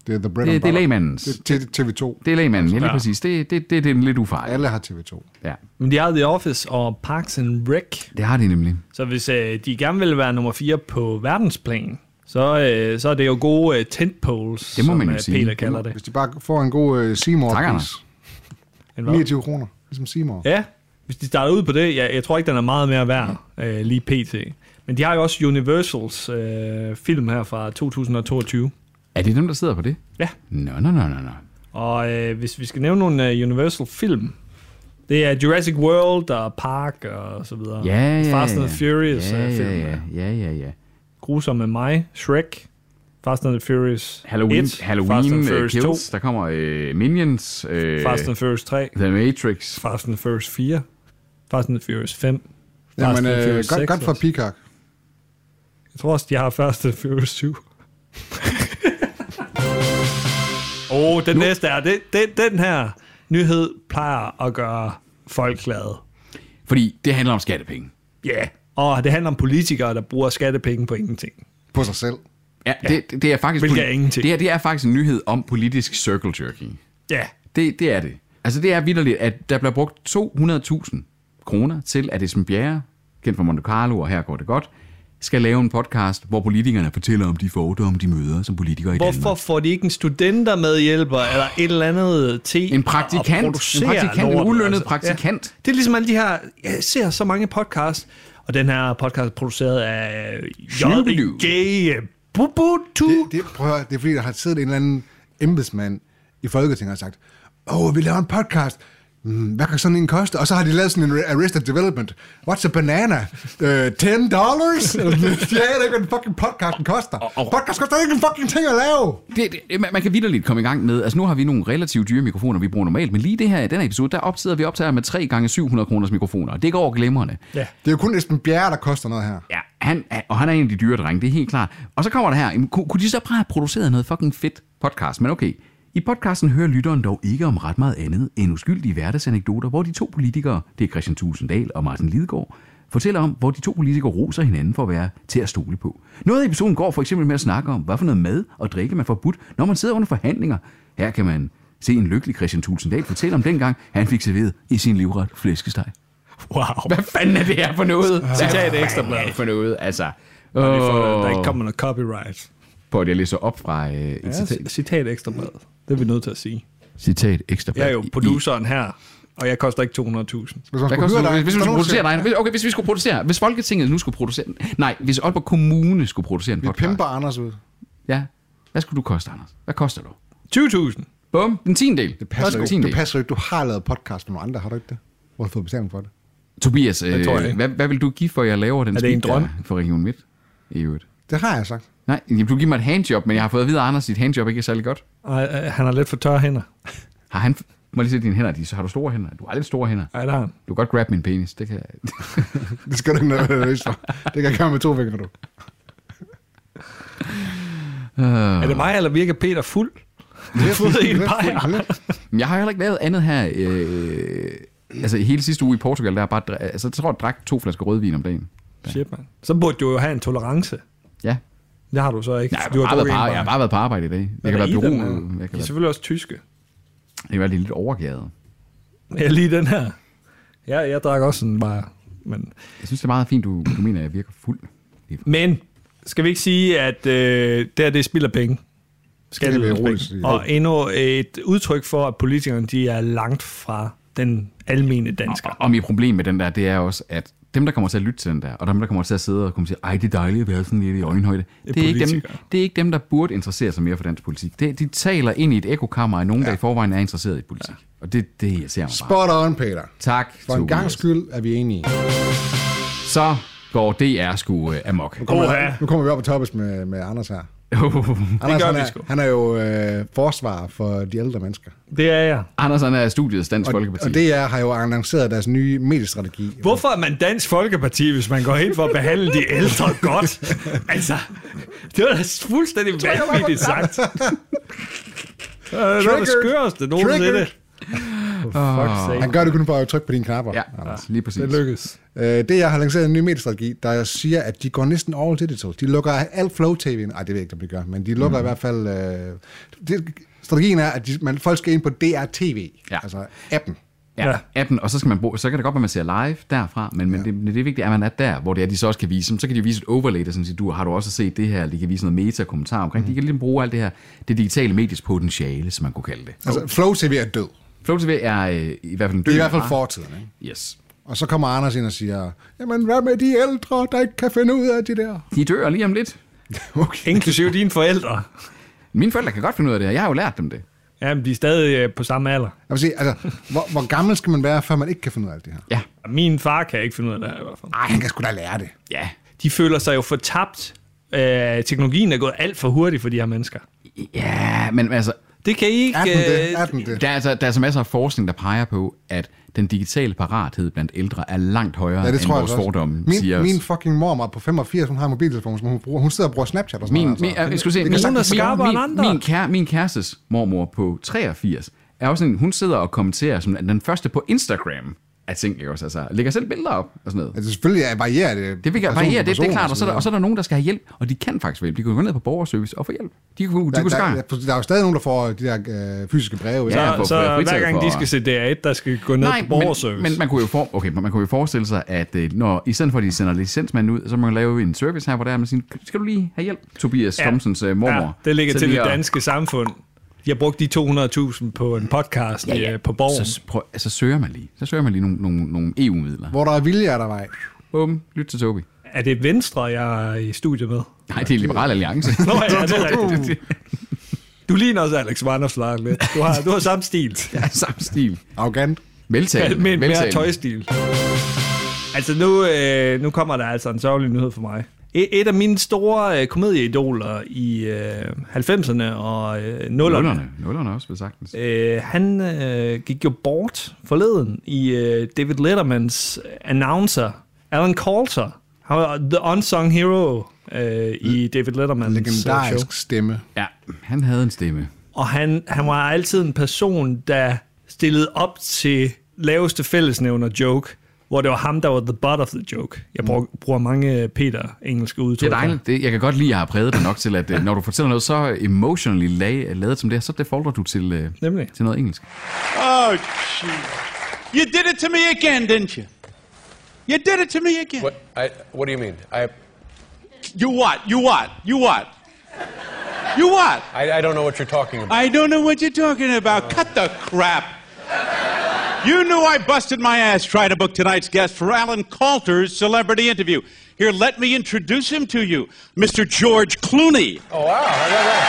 [SPEAKER 3] det er The Bread
[SPEAKER 4] Det-
[SPEAKER 3] and
[SPEAKER 4] det er
[SPEAKER 3] Butter.
[SPEAKER 4] lægmandens.
[SPEAKER 3] Det- Det er TV2.
[SPEAKER 4] det er lægmanden, ja, lige
[SPEAKER 2] Ja.
[SPEAKER 4] præcis. Det, det, det, det er en lidt ufarlig.
[SPEAKER 3] Alle har TV2.
[SPEAKER 4] Ja,
[SPEAKER 2] Men de har The Office og Parks and Rec.
[SPEAKER 4] det har de nemlig.
[SPEAKER 2] Så hvis øh, de gerne vil være nummer 4 på verdensplan, så, øh, så er det jo gode øh, tentpoles,
[SPEAKER 4] Det må
[SPEAKER 2] som
[SPEAKER 4] man jo
[SPEAKER 2] øh,
[SPEAKER 4] sige.
[SPEAKER 2] Peter
[SPEAKER 4] Det
[SPEAKER 2] kalder det.
[SPEAKER 3] Hvis de bare får en god øh,
[SPEAKER 4] Tak,
[SPEAKER 3] Seymour-pris.
[SPEAKER 4] Anders.
[SPEAKER 2] En hvad?
[SPEAKER 3] 29 kroner, ligesom Seymour.
[SPEAKER 2] Ja, hvis de starter ud på det, jeg, jeg tror ikke, den er meget mere værd øh, lige pt. Men de har jo også Universals øh, film her fra 2022.
[SPEAKER 4] Er det dem, der sidder på det?
[SPEAKER 2] Ja.
[SPEAKER 4] Nå, nå, nå, nå, nå.
[SPEAKER 2] Og øh, hvis vi skal nævne nogle øh, Universal-film, det er Jurassic World og Park og så videre.
[SPEAKER 4] Ja, ja,
[SPEAKER 2] Fast
[SPEAKER 4] ja.
[SPEAKER 2] and Furious
[SPEAKER 4] ja,
[SPEAKER 2] øh,
[SPEAKER 4] ja,
[SPEAKER 2] film.
[SPEAKER 4] ja, ja, ja, ja.
[SPEAKER 2] Grusom med mig, Shrek, Fast and the Furious 1,
[SPEAKER 4] Halloween,
[SPEAKER 2] Fast
[SPEAKER 4] Halloween
[SPEAKER 2] and
[SPEAKER 4] uh,
[SPEAKER 2] Furious
[SPEAKER 4] Kills,
[SPEAKER 2] 2,
[SPEAKER 4] der kommer uh, Minions, uh,
[SPEAKER 2] Fast and Furious 3,
[SPEAKER 4] The Matrix.
[SPEAKER 2] Fast and Furious 4, Fast and Furious 5, Fast
[SPEAKER 3] Jamen,
[SPEAKER 2] and
[SPEAKER 3] øh,
[SPEAKER 2] Furious
[SPEAKER 3] godt,
[SPEAKER 2] 6
[SPEAKER 3] godt for
[SPEAKER 2] også.
[SPEAKER 3] Peacock.
[SPEAKER 2] Jeg tror også, de har Fast and Furious 7. Åh, oh, den nu. næste er, det, det, den her nyhed plejer at gøre folk glade.
[SPEAKER 4] Fordi det handler om skattepenge.
[SPEAKER 2] Ja, yeah. og det handler om politikere, der bruger skattepenge på ingenting.
[SPEAKER 3] På sig selv.
[SPEAKER 4] Ja, ja. Det, det, er faktisk
[SPEAKER 2] Hvilket
[SPEAKER 4] poli-
[SPEAKER 2] er ingenting.
[SPEAKER 4] Det, her, det er faktisk en nyhed om politisk circle jerking.
[SPEAKER 2] Ja, yeah.
[SPEAKER 4] Det, det er det. Altså, det er vidderligt, at der bliver brugt 200.000 kroner til, at Esben Bjerre, kendt fra Monte Carlo, og her går det godt, skal lave en podcast, hvor politikerne fortæller om de fordomme, de møder som politikere i
[SPEAKER 2] hvorfor
[SPEAKER 4] Danmark.
[SPEAKER 2] får de ikke en studentermedhjælper eller et eller andet til
[SPEAKER 4] En praktikant.
[SPEAKER 2] at producere
[SPEAKER 4] En praktikant, en
[SPEAKER 2] lortet,
[SPEAKER 4] ulønnet
[SPEAKER 2] altså?
[SPEAKER 4] praktikant.
[SPEAKER 2] Ja. Det er ligesom alle de her, jeg ser så mange podcasts, og den her podcast er produceret af
[SPEAKER 4] Skyldig.
[SPEAKER 2] J.G. Bubutu.
[SPEAKER 3] Det, prøv at høre, det er fordi, der har siddet en eller anden embedsmand i Folketinget og sagt, åh, oh, vi laver en podcast. Mm, hvad kan sådan en koste? Og så har de lavet sådan en Arrested Development. What's a banana? Uh, 10 dollars? jeg aner ikke, hvad den fucking podcasten koster. Podcast koster ikke en fucking ting at lave.
[SPEAKER 4] Det, det, man, man kan vidderligt komme i gang med. Altså nu har vi nogle relativt dyre mikrofoner, vi bruger normalt, men lige det her i den her episode, der optager vi optager med 3 gange 700 kroners mikrofoner. Det går glimrende.
[SPEAKER 2] Ja.
[SPEAKER 3] Det er jo kun Esben Bjerre, der koster noget her.
[SPEAKER 4] Ja, han, er- og han er en af de dyre drenge, det er helt klart. Og så kommer der her, jamen, kunne, kunne de så bare have produceret noget fucking fedt podcast? Men okay, i podcasten hører lytteren dog ikke om ret meget andet end uskyldige hverdagsanekdoter, hvor de to politikere, det er Christian Tulsendal og Martin Lidegaard, fortæller om, hvor de to politikere roser hinanden for at være til at stole på. Noget af episoden går for eksempel med at snakke om, hvad for noget mad og drikke man får budt, når man sidder under forhandlinger. Her kan man se en lykkelig Christian Tulsendal fortælle om dengang, han fik serveret i sin livret flæskesteg.
[SPEAKER 2] Wow.
[SPEAKER 4] Hvad fanden er det her for noget?
[SPEAKER 2] Citat i Ekstra
[SPEAKER 4] Hvad er
[SPEAKER 2] Bladet.
[SPEAKER 4] det for noget? Altså,
[SPEAKER 2] Vi får, der ikke
[SPEAKER 4] åh,
[SPEAKER 2] kommer noget copyright.
[SPEAKER 4] på at jeg læser op fra øh, et
[SPEAKER 2] Ja,
[SPEAKER 4] citat.
[SPEAKER 2] citat ekstra blad. Det er vi nødt til at sige.
[SPEAKER 4] Citat ekstra
[SPEAKER 2] Jeg er
[SPEAKER 4] blad.
[SPEAKER 2] jo
[SPEAKER 4] I-
[SPEAKER 2] produceren her, og jeg koster ikke 200.000.
[SPEAKER 3] Hvis man
[SPEAKER 4] Hvad
[SPEAKER 3] skulle høre
[SPEAKER 4] koster
[SPEAKER 3] dig,
[SPEAKER 4] det, hvis vi
[SPEAKER 3] der er
[SPEAKER 4] skulle
[SPEAKER 3] nogen, der
[SPEAKER 4] producere dig? Okay, hvis vi skulle producere, hvis Folketinget nu skulle producere den. Nej, hvis Aalborg Kommune skulle producere en
[SPEAKER 3] siger, Vi
[SPEAKER 4] podcast.
[SPEAKER 3] pimper Anders ud.
[SPEAKER 4] Ja. Hvad skulle du koste, Anders? Hvad koster du?
[SPEAKER 2] 20.000.
[SPEAKER 4] Bum, en tiendel.
[SPEAKER 3] Det passer,
[SPEAKER 4] en
[SPEAKER 3] jo ikke.
[SPEAKER 4] tiendel.
[SPEAKER 3] det passer jo ikke. Du har lavet podcast med nogle andre, har du ikke det? Hvor har du fået betaling for det?
[SPEAKER 4] Tobias, øh,
[SPEAKER 2] tror jeg ikke.
[SPEAKER 4] hvad, hvad vil du give for, at jeg laver den
[SPEAKER 2] Er det en
[SPEAKER 4] speak der
[SPEAKER 2] drøm?
[SPEAKER 4] for Region Midt? I øvrigt.
[SPEAKER 3] Det har jeg sagt.
[SPEAKER 4] Nej, jamen, du giver mig et handjob, men jeg har fået at vide, at Anders, dit handjob ikke er særlig godt.
[SPEAKER 2] Ej, øh, han har lidt for tørre hænder.
[SPEAKER 4] Har han... Må jeg lige se dine hænder, de, så har du store hænder. Du har lidt store hænder.
[SPEAKER 2] Ej, det har han.
[SPEAKER 4] Du kan godt grab min penis, det kan jeg.
[SPEAKER 3] Det skal du ikke være nervøs for. Det kan jeg gøre med to fingre, du.
[SPEAKER 2] Er det mig, eller virker Peter fuld?
[SPEAKER 3] Det er
[SPEAKER 2] fået en bajer.
[SPEAKER 4] Men Jeg har heller ikke lavet andet her. Øh, altså hele sidste uge i Portugal, der er bare... dr- Altså, jeg tror, jeg drak to flasker rødvin om dagen.
[SPEAKER 2] Shit, man. Så burde du jo have en tolerance.
[SPEAKER 4] Ja.
[SPEAKER 2] Det har du så ikke.
[SPEAKER 4] Nej, jeg,
[SPEAKER 2] du
[SPEAKER 4] har bare
[SPEAKER 2] drukket
[SPEAKER 4] været på,
[SPEAKER 2] en
[SPEAKER 4] arbejde- jeg har bare været på arbejde i dag. Jeg kan
[SPEAKER 2] der
[SPEAKER 4] være
[SPEAKER 2] i den,
[SPEAKER 4] bureau.
[SPEAKER 2] De
[SPEAKER 4] Jeg kan
[SPEAKER 2] er
[SPEAKER 4] være,
[SPEAKER 2] selvfølgelig også tyske.
[SPEAKER 4] jeg kan være lidt overgæret.
[SPEAKER 2] Ja, lige den her. Ja, jeg drak også en bare. Men,
[SPEAKER 4] Jeg synes, det er meget fint, du, du mener, at jeg virker fuld.
[SPEAKER 2] men skal vi ikke sige, at øh, det her, det spilder penge?
[SPEAKER 3] Det kan vi
[SPEAKER 2] Skatteydernes
[SPEAKER 3] roligt
[SPEAKER 2] penge.
[SPEAKER 3] sige.
[SPEAKER 2] Og endnu et udtryk for, at politikerne de er langt fra den almene dansker.
[SPEAKER 4] Og, og mit problem med den der, det er også, at dem, der kommer til at lytte til den der, og dem, der kommer til at sidde og kommer til at sige, ej, det er dejligt at være sådan lidt i øjenhøjde, det er, ikke dem,
[SPEAKER 2] politikere.
[SPEAKER 4] det er ikke dem, der burde interessere sig mere for dansk politik. Det, de taler ind i et ekokammer af nogen, ja. der i forvejen er interesseret i politik. Ja. Og det, det irriterer mig bare.
[SPEAKER 3] Spot on, Peter.
[SPEAKER 4] Tak,
[SPEAKER 3] For en
[SPEAKER 4] Tobias.
[SPEAKER 3] gang skyld er vi enige.
[SPEAKER 4] Så går DR sgu øh, amok.
[SPEAKER 3] Kommer-
[SPEAKER 1] Oha.
[SPEAKER 3] Nu kommer vi op på toppes med, med Anders her. Anders,
[SPEAKER 2] gør
[SPEAKER 3] han,
[SPEAKER 2] vi
[SPEAKER 3] er,
[SPEAKER 2] sgu.
[SPEAKER 3] han er jo øh, forsvarer for de ældre mennesker.
[SPEAKER 2] Det er jeg.
[SPEAKER 4] Anders han er studiets Dansk
[SPEAKER 3] Og,
[SPEAKER 4] Folkeparti.
[SPEAKER 3] og DR har jo annonceret deres nye mediestrategi.
[SPEAKER 2] Hvorfor er man Dansk Folkeparti, hvis man går ind for at behandle de ældre godt? Altså, det var da fuldstændig vanvittigt sagt. Det var noget af det
[SPEAKER 3] Triggered.
[SPEAKER 2] skøreste nogensinde.
[SPEAKER 3] Triggered.
[SPEAKER 2] For fuck's sake.
[SPEAKER 3] Han gør det kun for at trykke på dine knapper.
[SPEAKER 4] Ja, lige præcis.
[SPEAKER 2] Det lykkedes.
[SPEAKER 3] Øh, det, jeg har lanceret en ny mediestrategi, der siger, at de går næsten all digital. De lukker alt flow tv ind. Ej, det ved jeg ikke, om de gør, men de lukker mm. i hvert fald... Øh, det, strategien er, at de, man, folk skal ind på DRTV,
[SPEAKER 4] Ja.
[SPEAKER 3] altså appen.
[SPEAKER 4] Ja,
[SPEAKER 2] Ja.
[SPEAKER 4] appen, og så, skal man bruge, så kan det godt være, man ser live derfra, men, men ja. det, det, vigtige er, at man er der, hvor det er, de så også kan vise. dem. Så kan de jo vise et overlay, der sådan siger, du har du også set det her, eller de kan vise noget meta-kommentar omkring. Mm.
[SPEAKER 3] Mhm.
[SPEAKER 4] De kan ligesom bruge alt det her, det digitale medies potentiale, som man kunne kalde det.
[SPEAKER 3] Altså, flow tv er død.
[SPEAKER 4] Flow TV er øh, i hvert fald en
[SPEAKER 3] Det
[SPEAKER 4] død.
[SPEAKER 3] er i hvert fald
[SPEAKER 4] vare.
[SPEAKER 3] fortiden, ikke?
[SPEAKER 4] Yes.
[SPEAKER 3] Og så kommer Anders ind og siger, jamen hvad med de ældre, der ikke kan finde ud af det der?
[SPEAKER 4] De dør lige om lidt.
[SPEAKER 3] Okay.
[SPEAKER 2] Inklusive dine forældre.
[SPEAKER 4] Mine forældre kan godt finde ud af det her. Jeg har jo lært dem det.
[SPEAKER 2] Jamen, de er stadig øh, på samme alder.
[SPEAKER 3] Jeg vil sige, altså, hvor, hvor gammel skal man være, før man ikke kan finde ud af alt det her?
[SPEAKER 4] Ja.
[SPEAKER 2] Min far kan ikke finde ud af det her i hvert fald.
[SPEAKER 3] Ej, han kan sgu da lære det.
[SPEAKER 4] Ja.
[SPEAKER 2] De føler sig jo fortabt. Øh, teknologien er gået alt for hurtigt for de her mennesker.
[SPEAKER 4] Ja, men altså,
[SPEAKER 2] Det kan I ikke...
[SPEAKER 3] Er den det? Er
[SPEAKER 2] øh,
[SPEAKER 3] den det?
[SPEAKER 4] der er, altså, der er altså masser af forskning, der peger på, at den digitale parathed blandt ældre er langt højere
[SPEAKER 3] Ja, det tror
[SPEAKER 4] end
[SPEAKER 3] jeg altså
[SPEAKER 4] vores
[SPEAKER 3] også.
[SPEAKER 4] fordomme
[SPEAKER 3] min,
[SPEAKER 4] siger os.
[SPEAKER 3] min fucking mormor på 85, hun har en mobiltelefon, som hun bruger. Hun sidder og bruger Snapchat og sådan
[SPEAKER 4] Min,
[SPEAKER 3] noget. altså.
[SPEAKER 4] min, jeg skulle se, altså,
[SPEAKER 3] Det
[SPEAKER 4] min,
[SPEAKER 3] kan
[SPEAKER 2] Hun er
[SPEAKER 3] sagtens være.
[SPEAKER 2] skarpere end
[SPEAKER 4] min,
[SPEAKER 2] andre.
[SPEAKER 4] min, kære, min kærestes mormor på 83 er også sådan, hun sidder og kommenterer som den første på Instagram af ting, ikke også? Altså, lægger selv billeder op og sådan noget.
[SPEAKER 3] Altså selvfølgelig er- varierer det.
[SPEAKER 4] Det vil jeg
[SPEAKER 3] person til
[SPEAKER 4] variere, det, det er
[SPEAKER 3] person
[SPEAKER 4] klart, og så, er der,
[SPEAKER 3] videre.
[SPEAKER 4] og så er der nogen, der skal have hjælp, og de kan faktisk hjælp. De kan gå ned på borgerservice og få hjælp. De kunne, de
[SPEAKER 3] der,
[SPEAKER 4] kunne skare.
[SPEAKER 3] der, der, der, er jo stadig nogen, der får de der øh, fysiske breve.
[SPEAKER 4] Ja,
[SPEAKER 3] ikke? Altså,
[SPEAKER 4] for-
[SPEAKER 2] Så, så
[SPEAKER 4] for-
[SPEAKER 2] hver gang
[SPEAKER 4] for-
[SPEAKER 2] de skal se DR1, der skal gå ned på borgerservice.
[SPEAKER 4] men, men man, kunne jo for, okay, men man kunne jo forestille sig, at øh, når, i stedet for, at de sender licensmanden ud, så må man lave en service her, hvor der er, man siger, skal du lige have hjælp? Tobias ja. Thomsens øh, mormor.
[SPEAKER 2] Ja, det ligger
[SPEAKER 4] Så
[SPEAKER 2] til
[SPEAKER 4] lige
[SPEAKER 2] det
[SPEAKER 4] at-
[SPEAKER 2] danske samfund. Jeg brugte de 200.000 på en podcast ja, ja. på borgen.
[SPEAKER 4] Så, prøv, så søger man lige. Så søger man lige nogle, nogle, nogle EU-midler.
[SPEAKER 3] Hvor der er vilje, er der vej.
[SPEAKER 4] Bum, lyt til Tobi.
[SPEAKER 2] Er det Venstre, jeg er i studiet med?
[SPEAKER 4] Nej, det er Liberal Alliance.
[SPEAKER 2] Nå ja, det er rigtigt. Du ligner også Alex Vanderslag lidt. Du har, du har samme stil.
[SPEAKER 4] ja, samme stil.
[SPEAKER 3] Arrogant.
[SPEAKER 4] Veltalen.
[SPEAKER 2] Med en mere
[SPEAKER 4] veltalen.
[SPEAKER 2] tøjstil. Altså nu, øh, nu kommer der altså en sørgelig nyhed for mig. Et, et af mine store øh, komedieidoler i øh, 90'erne og øh, 0'erne,
[SPEAKER 4] Nullerne. Nullerne også, vil sagtens.
[SPEAKER 2] Øh, han øh, gik jo bort forleden i øh, David Lettermans announcer, Alan Coulter. Han var the unsung hero øh, i
[SPEAKER 3] Mm.
[SPEAKER 2] David Lettermans øh, show.
[SPEAKER 3] Legendarisk stemme.
[SPEAKER 4] Ja, han havde en stemme.
[SPEAKER 2] Og han, han var altid en person, der stillede op til laveste fællesnævner joke, hvor det var ham, der var the butt of the joke.
[SPEAKER 3] Mm.
[SPEAKER 2] Jeg bruger, bruger mange øh, Peter engelske udtryk.
[SPEAKER 4] Det er
[SPEAKER 2] her.
[SPEAKER 4] dejligt. Det, jeg kan godt lide, at jeg har præget dig nok til, at øh, når du fortæller noget så emotionally la- ladet som det her, så defaulter du til, øh,
[SPEAKER 2] Nemlig.
[SPEAKER 4] til noget engelsk.
[SPEAKER 5] Oh, jeez. You did it to me again, didn't you? You did it to me again.
[SPEAKER 6] What, I, what do you mean? I,
[SPEAKER 5] You what? You what? You what? You what?
[SPEAKER 6] I, I don't know what you're talking about.
[SPEAKER 5] I don't know what you're talking about. Cut the crap. You knew I busted my ass trying to book tonight's guest for Alan Coulter's celebrity interview. Here, let me introduce him to you, Mr. George Clooney.
[SPEAKER 6] oh, wow. I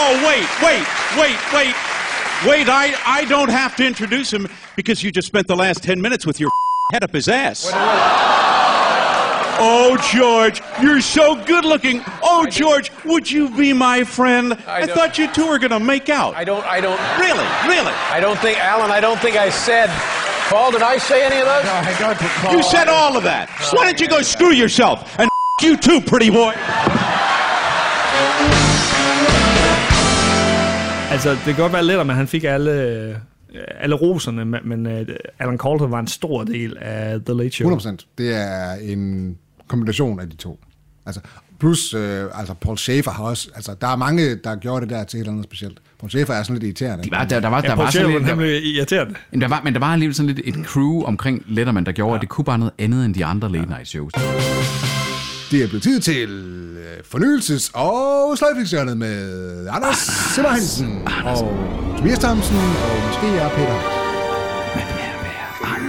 [SPEAKER 5] Oh, wait, wait, wait, wait. Wait, I, I don't have to introduce him because you just spent the last 10 minutes with your head up his ass. Oh, George, you're so good looking. Oh, George, would you be my friend? I,
[SPEAKER 6] don't-
[SPEAKER 5] thought you two were going to make out.
[SPEAKER 6] I don't, I don't,
[SPEAKER 5] Really, really.
[SPEAKER 6] I don't think, Alan, I don't think I said, Paul, did I say any of those? No, I don't recall.
[SPEAKER 5] You said all of that. Why don't you go screw yourself and you too, pretty boy?
[SPEAKER 1] Altså, det kan godt være lidt, at han fik alle, øh, alle roserne, men- men øh, Alan Coulter var en stor del af The Late Show.
[SPEAKER 3] 100%. Det er en kombination af de to. Altså, plus, øh, altså Paul Schaefer har også... Altså, der er mange, der gjorde det der til et eller andet specielt. Paul Schaefer er sådan lidt irriterende.
[SPEAKER 4] De var, der, der var, der
[SPEAKER 1] Ja,
[SPEAKER 4] var
[SPEAKER 1] Paul
[SPEAKER 4] sådan lidt,
[SPEAKER 1] Sheldon,
[SPEAKER 4] der,
[SPEAKER 1] han blev irriterende.
[SPEAKER 4] Jamen, der var, men der var alligevel sådan lidt et crew omkring Letterman, der gjorde, ja. at det kunne bare noget andet end de andre late night shows.
[SPEAKER 3] Det er blevet tid til øh, fornyelses- og sløjfningsjørnet med Anders Simmer Hansen og Tobias Thomsen og måske jeg, Peter.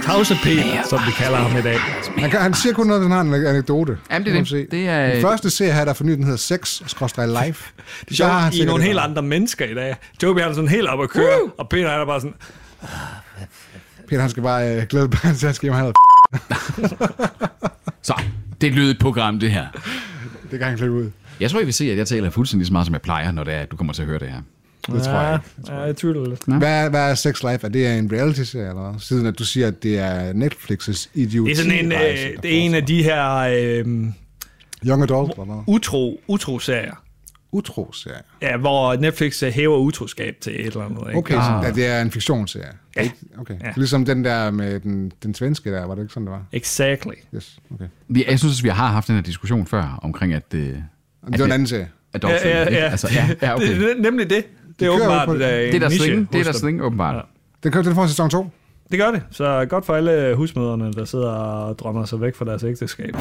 [SPEAKER 1] Tavse Peter, som vi kalder ham i dag.
[SPEAKER 3] Han, kan, han siger kun noget, den har en anekdote.
[SPEAKER 4] Jamen, det er
[SPEAKER 3] Må man
[SPEAKER 4] det.
[SPEAKER 3] se.
[SPEAKER 4] Det er-
[SPEAKER 3] Den første serie her, der er fornyet, den hedder Sex, skråstrej live.
[SPEAKER 1] Det er sjovt, I er nogle helt andre mennesker i dag. Joby er sådan helt op at køre, og Peter han er bare sådan,
[SPEAKER 3] Peter, han skal bare øh, glæde sig til, at han skal hjem og have noget
[SPEAKER 4] Så, det er et lydigt program, det her.
[SPEAKER 3] f- Det kan han klippe ud.
[SPEAKER 4] Jeg tror, I vil se, at jeg taler fuldstændig så meget, som jeg plejer, når det er, at du kommer til at høre det her.
[SPEAKER 3] Det tror jeg ikke.
[SPEAKER 1] ja, jeg tvivler lidt.
[SPEAKER 3] Mm. Hvad, hvad er Sex Life? Er det en reality-serie eller hvad? Siden at du siger, at det er Netflix's idioti.
[SPEAKER 1] Det er sådan en,
[SPEAKER 3] rejse,
[SPEAKER 1] øh,
[SPEAKER 3] der
[SPEAKER 1] det er en af de her øh,
[SPEAKER 3] fortsætter. Young Adult eller noget.
[SPEAKER 1] utro, utro-serier,
[SPEAKER 3] Utro-serie.
[SPEAKER 1] ja, hvor Netflix øh, hæver utroskab til et eller andet. Ikke?
[SPEAKER 3] Okay, ah. så, ja, det er en fiktionsserie.
[SPEAKER 1] Ja.
[SPEAKER 3] Okay.
[SPEAKER 1] Ja.
[SPEAKER 3] Ja. Ligesom den der med den, den svenske der, var det ikke sådan, det var?
[SPEAKER 1] Exactly.
[SPEAKER 3] Yes, okay.
[SPEAKER 4] Vi- Jeg synes, at vi har haft den her diskussion før, omkring at... Øh,
[SPEAKER 3] Det var en anden serie.
[SPEAKER 4] At dog, ja, ja, ja. Altså, ja, ja, okay.
[SPEAKER 1] det, er nemlig det. Det er
[SPEAKER 3] kører
[SPEAKER 1] åbenbart
[SPEAKER 3] på-
[SPEAKER 1] øh, en
[SPEAKER 4] Det er der
[SPEAKER 1] niche
[SPEAKER 4] sling, det er
[SPEAKER 1] hos
[SPEAKER 4] der
[SPEAKER 1] dem.
[SPEAKER 4] sling, åbenbart. Ja.
[SPEAKER 3] Den, kører, den får sæson 2.
[SPEAKER 1] Det gør det, så godt for alle husmøderne, der sidder og drømmer sig væk fra deres ægteskab.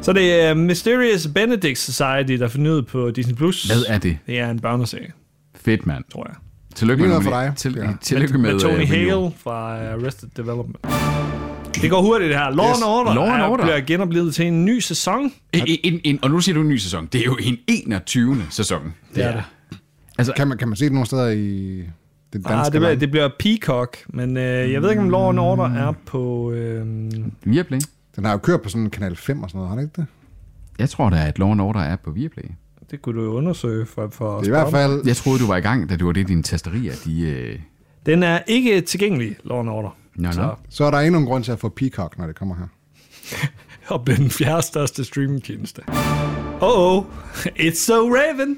[SPEAKER 1] Så det er Mysterious Benedict Society, der er fornyet på Disney+. Plus.
[SPEAKER 4] Hvad er det?
[SPEAKER 1] Det er en børneserie,
[SPEAKER 4] Fedt, mand.
[SPEAKER 1] tror jeg.
[SPEAKER 4] Tillykke med,
[SPEAKER 3] Nyheder for
[SPEAKER 4] nomine-
[SPEAKER 3] dig.
[SPEAKER 4] Til,
[SPEAKER 3] Ja.
[SPEAKER 4] Tillykke med,
[SPEAKER 1] med Tony
[SPEAKER 4] øh, millionen.
[SPEAKER 1] Hale fra øh, Arrested Development. Det går hurtigt, det her. Law yes. and Order,
[SPEAKER 4] Law and
[SPEAKER 1] er-
[SPEAKER 4] Order.
[SPEAKER 1] bliver genoplevet til en ny sæson.
[SPEAKER 4] En, en, en, og nu siger du en ny sæson. Det er jo en 21. sæson.
[SPEAKER 1] Det er det.
[SPEAKER 3] Kan man, kan man se det nogle steder i det
[SPEAKER 1] Ah,
[SPEAKER 3] danske
[SPEAKER 1] det, bliver,
[SPEAKER 3] land?
[SPEAKER 1] det bliver Peacock, men øh, jeg ved ikke, om Law and Order er på... Øh,
[SPEAKER 4] Viaplay.
[SPEAKER 3] Den har jo kørt på sådan kanal 5 og sådan noget, har den ikke det?
[SPEAKER 4] Jeg tror da, at Law and Order er på Viaplay.
[SPEAKER 1] det kunne du jo undersøge for, for
[SPEAKER 3] Det er i hvert fald...
[SPEAKER 4] Jeg troede, du var i gang, da det var det, dine tasterier, de... Øh...
[SPEAKER 1] Den er ikke tilgængelig, Law and Order.
[SPEAKER 4] Nå, nå.
[SPEAKER 1] Så-
[SPEAKER 3] Så er der endnu en grund til at få Peacock, når det kommer her.
[SPEAKER 1] og blev den fjerde største streamingtjeneste. Oh, oh, it's so Raven.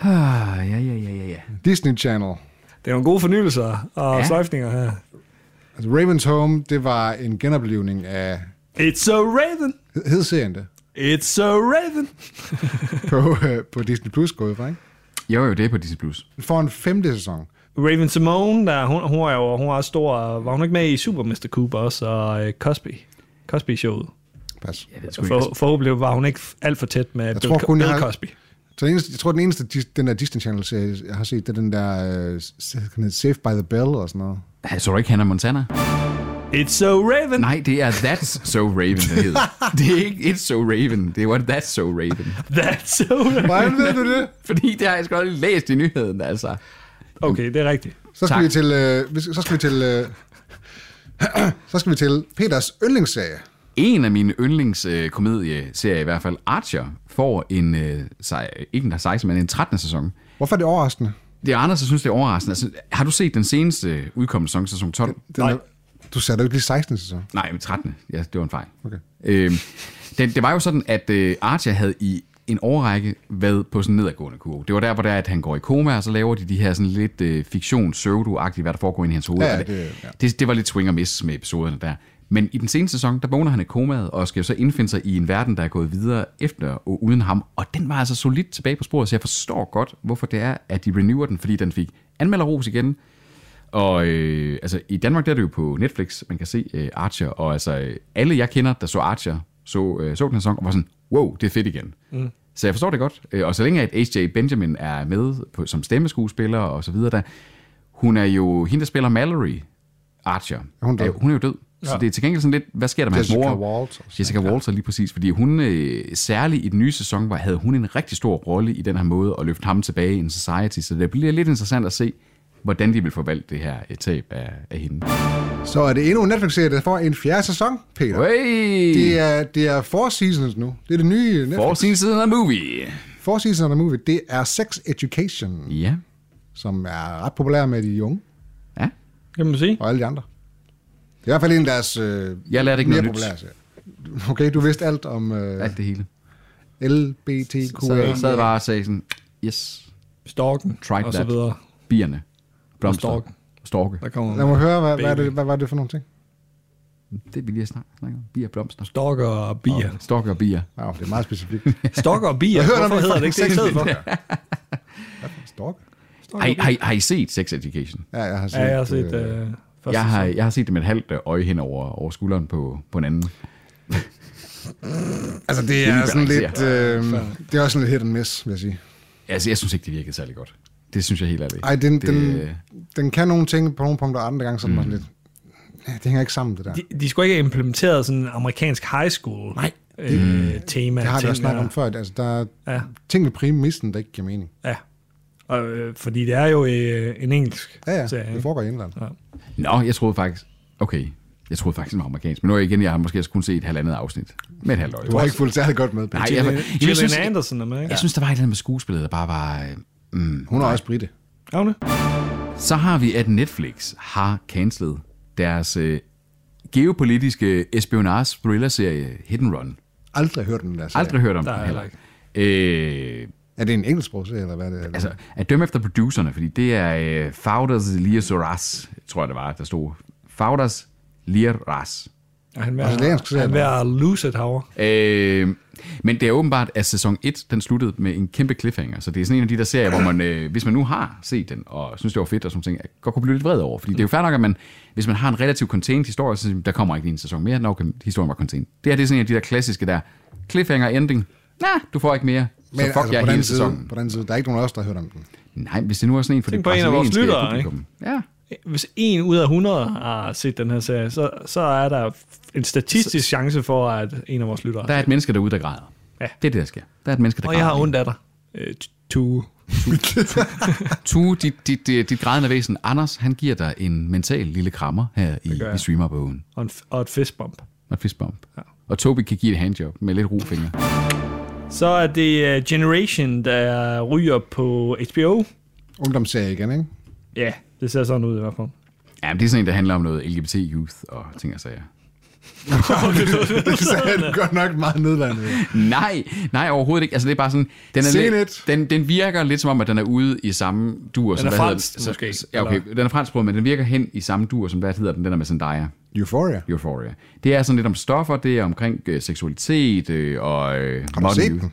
[SPEAKER 4] Ah, ja, ja, ja, ja, ja.
[SPEAKER 3] Øh, Disney Channel.
[SPEAKER 1] Det er nogle gode fornyelser og
[SPEAKER 4] Ja.
[SPEAKER 1] ja. sløjfninger her.
[SPEAKER 3] Altså Raven's Home, det var en genoplevning af...
[SPEAKER 1] It's so Raven.
[SPEAKER 3] hed- Hed serien det?
[SPEAKER 1] It's so Raven.
[SPEAKER 3] På, øh, på Disney Plus gået fra, ikke?
[SPEAKER 4] Jo, jo, det er på Disney+. Plus.
[SPEAKER 3] Den får en femte sæson.
[SPEAKER 1] Raven Simone, der, hun, hun er jo hun er også stor. Var hun ikke med i Super Mr. Cooper også, og øh, Cosby? Cosby-showet.
[SPEAKER 3] Pas.
[SPEAKER 4] Jeg ved sgu ikke.
[SPEAKER 1] For, forhåbentlig var hun ikke alt for tæt med Bill,
[SPEAKER 3] tror
[SPEAKER 1] Co-
[SPEAKER 3] kun, jeg
[SPEAKER 1] Bill
[SPEAKER 3] har-
[SPEAKER 1] Cosby.
[SPEAKER 3] Så den eneste, jeg tror, den eneste, dis- den der Disney Channel-serie, jeg har set, det er den der øh, s- den hedder Saved by the Bell og sådan noget.
[SPEAKER 4] Ah, Så du ikke Hannah Montana?
[SPEAKER 1] It's so Raven.
[SPEAKER 4] Nej, det er That's So Raven, den hedder. Det er ikke It's So Raven, det var That's So Raven.
[SPEAKER 1] That's so Raven.
[SPEAKER 3] Hvordan ved du det?
[SPEAKER 4] Fordi det har jeg sgu aldrig læst i nyheden, altså.
[SPEAKER 1] Okay, det er rigtigt.
[SPEAKER 3] Så skal
[SPEAKER 4] Tak.
[SPEAKER 3] vi til... Øh, vi skal- så skal vi til... Øh, så skal vi til Peters yndlingsserie.
[SPEAKER 4] En af mine yndlingskomedieserier, i hvert fald Archer, får en, øh, sej, ikke en der er 16, men en 13. sæson.
[SPEAKER 3] Hvorfor er det overraskende?
[SPEAKER 4] Det er Anders, der synes, det er overraskende. Altså, har du set den seneste udkommende sæson, sæson 12?
[SPEAKER 3] Den Er, du sagde jo ikke lige 16. sæson.
[SPEAKER 4] Nej, men 13. Ja, det var en fejl.
[SPEAKER 3] Okay.
[SPEAKER 4] Øhm, det, det var jo sådan, at øh, Archer havde i en årrække været på sådan en nedadgående kurve. Det var der, hvor det er, at han går i koma, og så laver de de her sådan lidt øh, fiktion pseudo agtige hvad der foregår inde i hans hoved.
[SPEAKER 3] Ja,
[SPEAKER 4] Og
[SPEAKER 3] det- ja.
[SPEAKER 4] det, det var lidt swing og miss med episoderne der. Men i den seneste sæson, der vågner han i komaet, og skal jo så indfinde sig i en verden, der er gået videre efter og uden ham. Og den var altså solidt tilbage på sporet, så jeg forstår godt, hvorfor det er, at de renewer den, fordi den fik anmelderros igen. Og øh, altså, i Danmark der er det jo på Netflix, man kan se øh, Archer, og altså øh, alle jeg kender, der så Archer, så, øh, så den her sang og var sådan, wow, det er fedt igen. Mm. Så jeg forstår det godt. Øh, Og så længe at H.J. Benjamin er med på, som stemmeskuespiller og så videre, der, hun er jo, hende der spiller Mallory Archer,
[SPEAKER 3] Er hun død?
[SPEAKER 4] Øh, hun er jo død. Så det er til gengæld sådan lidt, hvad sker der med
[SPEAKER 3] Jessica
[SPEAKER 4] hans mor?
[SPEAKER 3] Walter.
[SPEAKER 4] Jessica Walter lige præcis, fordi hun øh, særligt i den nye sæson var, havde hun en rigtig stor rolle i den her måde at løfte ham tilbage i en society, så det bliver lidt interessant at se, hvordan de vil forvalte det her øh, tab af, af hende.
[SPEAKER 3] Så er det endnu en Netflix-serie, der får en fjerde sæson, Peter.
[SPEAKER 4] Hey!
[SPEAKER 3] Det er, det er Four Seasons nu. Det er det nye Netflix.
[SPEAKER 4] For sin siden af movie.
[SPEAKER 3] Four Seasons of Movie. Det er Sex Education,
[SPEAKER 4] Ja.
[SPEAKER 3] som er ret populær med de unge
[SPEAKER 4] Ja.
[SPEAKER 2] Kan man sige?
[SPEAKER 3] og alle de andre. Det er i hvert fald en af deres øh,
[SPEAKER 4] Jeg lærte ikke
[SPEAKER 3] mere
[SPEAKER 4] noget nyt.
[SPEAKER 3] populære serier. Okay, du vidste alt om øh,
[SPEAKER 4] Alt det hele. Så
[SPEAKER 3] LBTQA.
[SPEAKER 4] jeg sad bare og sagde sådan, yes,
[SPEAKER 2] Storken,
[SPEAKER 4] Tried
[SPEAKER 2] og så
[SPEAKER 4] that.
[SPEAKER 2] videre.
[SPEAKER 4] bierne. Blomster.
[SPEAKER 2] storken.
[SPEAKER 4] Storke.
[SPEAKER 2] Der kommer
[SPEAKER 3] Lad mig høre, hvad, hvad, er
[SPEAKER 2] Baby.
[SPEAKER 3] det, hvad var det for nogle ting?
[SPEAKER 4] Det vil jeg snakke, snakke om. Bier, blomster.
[SPEAKER 2] storker og bier.
[SPEAKER 4] Storke og bier.
[SPEAKER 3] Nå, det er meget specifikt.
[SPEAKER 2] Storker og bier,
[SPEAKER 3] Jeg hørte om
[SPEAKER 2] hvorfor
[SPEAKER 3] det
[SPEAKER 2] hedder det ikke det i stedet for?
[SPEAKER 3] Stork?
[SPEAKER 4] Har, I- har, I- har I set Sex Education?
[SPEAKER 3] Ja, jeg har set.
[SPEAKER 2] Ja, jeg har set
[SPEAKER 3] øh,
[SPEAKER 2] øh, første
[SPEAKER 4] Jeg har, jeg har set det med et halvt øh, øje hen over, over skulderen på, på en anden.
[SPEAKER 2] øh,
[SPEAKER 3] altså, det
[SPEAKER 4] det
[SPEAKER 3] er
[SPEAKER 4] er
[SPEAKER 3] sådan lidt...
[SPEAKER 4] balancerer.
[SPEAKER 3] Øh, det er også sådan lidt hit and miss, vil jeg sige.
[SPEAKER 4] Altså, jeg synes ikke, det virkede særlig godt. Det synes jeg helt ærligt.
[SPEAKER 3] Ej, den,
[SPEAKER 4] det,
[SPEAKER 3] den,
[SPEAKER 4] øh,
[SPEAKER 3] den kan nogle ting på nogle punkter, og andre gange så er den bare sådan lidt... Ja, det hænger ikke sammen, det der.
[SPEAKER 2] De, de skulle ikke have implementeret sådan en amerikansk high school Nej. Øh, tema.
[SPEAKER 3] Mm. Det har vi
[SPEAKER 2] ting
[SPEAKER 3] også snakket
[SPEAKER 2] der.
[SPEAKER 3] om før. at Altså, der er
[SPEAKER 2] Ja.
[SPEAKER 3] ting ved præmissen, der ikke giver mening.
[SPEAKER 2] Ja. Og, øh, fordi det er jo øh, en engelsk
[SPEAKER 3] Ja, ja,
[SPEAKER 2] serie.
[SPEAKER 3] det
[SPEAKER 2] ikke?
[SPEAKER 3] foregår i England.
[SPEAKER 4] Nå, jeg troede faktisk... Okay, jeg troede faktisk, den var amerikansk. Men nu er jeg igen, jeg har måske også kun set et halvandet afsnit. Med et halvt øje.
[SPEAKER 3] Du har ikke fulgt særlig godt med.
[SPEAKER 4] Nej,
[SPEAKER 3] Nej.
[SPEAKER 4] jeg, jeg, jeg, jeg,
[SPEAKER 2] Gillian
[SPEAKER 4] synes,
[SPEAKER 2] jeg,
[SPEAKER 4] jeg,
[SPEAKER 2] Anderson er med, ikke?
[SPEAKER 4] jeg synes, der var et eller andet med skuespillet, der bare var... øh, Mm.
[SPEAKER 3] Hun er også britte.
[SPEAKER 2] Ja. Er hun det?
[SPEAKER 4] Så har vi, at Netflix har cancelet deres øh, geopolitiske espionage thriller-serie Hidden Run.
[SPEAKER 3] Aldrig hørt om den der serie.
[SPEAKER 4] Aldrig hørt om
[SPEAKER 2] Der
[SPEAKER 4] den
[SPEAKER 2] er
[SPEAKER 4] heller. Øh,
[SPEAKER 3] Er det en engelsksprog serie, eller hvad er det? Eller?
[SPEAKER 4] altså, at dømme efter producerne, fordi det er øh, Faudas Liazoras, tror jeg det var, der stod. Faudas Liazoras.
[SPEAKER 2] Altså, Er han ved
[SPEAKER 3] Brasiliansk
[SPEAKER 2] at,
[SPEAKER 3] serie,
[SPEAKER 2] han ved at lose it herovre.
[SPEAKER 4] Øh, men det er åbenbart, at sæson 1, den sluttede med en kæmpe cliffhanger. Så det er sådan en af de der serier, hvor man, øh, hvis man nu har set den, og synes, det var fedt og sådan nogle ting, godt kunne blive lidt vred over. Fordi det er jo fair nok, at man, hvis man har en relativt contained historie, så siger man, der kommer ikke lige en sæson mere, når okay, historien var contained. Det her det er sådan en af de der klassiske der cliffhanger ending. Nej, du får ikke mere. Men, så fuck altså,
[SPEAKER 3] på,
[SPEAKER 4] jer
[SPEAKER 3] den
[SPEAKER 4] hele
[SPEAKER 3] side,
[SPEAKER 4] sæsonen.
[SPEAKER 3] på den side, der er ikke nogen af os, der har hørt om den.
[SPEAKER 4] Nej, hvis det nu er sådan en for
[SPEAKER 2] Tænk
[SPEAKER 4] det
[SPEAKER 2] på en af vores
[SPEAKER 4] brasilianske
[SPEAKER 2] lyttere, ikke?
[SPEAKER 4] publikum. Ja,
[SPEAKER 2] Hvis en ud af 100 har set den her serie, så, så er der en statistisk chance for, at en af vores lyttere...
[SPEAKER 4] der er et menneske derude, der græder.
[SPEAKER 2] Ja.
[SPEAKER 4] Det er det, der sker. Der er et menneske, der
[SPEAKER 2] og
[SPEAKER 4] græder.
[SPEAKER 2] jeg har ondt af dig. Øh, to.
[SPEAKER 4] Tue, dit, dit, dit, dit grædende væsen, Anders, han giver dig en mental lille krammer her i,
[SPEAKER 2] gør jeg.
[SPEAKER 4] i streamerbogen.
[SPEAKER 2] Og, en, f- og et fistbump.
[SPEAKER 4] Og et fistbump. Ja. Og Tobi kan give et handjob med lidt rofinger.
[SPEAKER 2] Så er det øh, Generation, der ryger på HBO.
[SPEAKER 3] Ungdomsserie igen, ikke?
[SPEAKER 2] Ja, det ser sådan ud i hvert fald.
[SPEAKER 4] Ja, men det er sådan en, der handler om noget LGBT youth og ting og sager.
[SPEAKER 3] det sagde jeg godt nok meget nedladende.
[SPEAKER 4] Nej, nej overhovedet ikke. Altså det er bare sådan, den, er
[SPEAKER 3] Se
[SPEAKER 4] lidt,
[SPEAKER 3] lidt.
[SPEAKER 4] den, den virker lidt som om, at den er ude i samme duer. som,
[SPEAKER 2] er
[SPEAKER 4] hvad hedder-
[SPEAKER 2] fransk,
[SPEAKER 4] så-
[SPEAKER 2] måske,
[SPEAKER 4] Ja, okay.
[SPEAKER 2] eller?
[SPEAKER 4] Den er fransk, men den virker hen i samme duer, som hvad hedder den, den der med Zendaya.
[SPEAKER 3] Euphoria.
[SPEAKER 4] Euphoria. Det er sådan lidt om stoffer, det er omkring øh, seksualitet øh, og... Øh,
[SPEAKER 3] du
[SPEAKER 4] modern
[SPEAKER 3] set
[SPEAKER 4] youth.
[SPEAKER 3] den?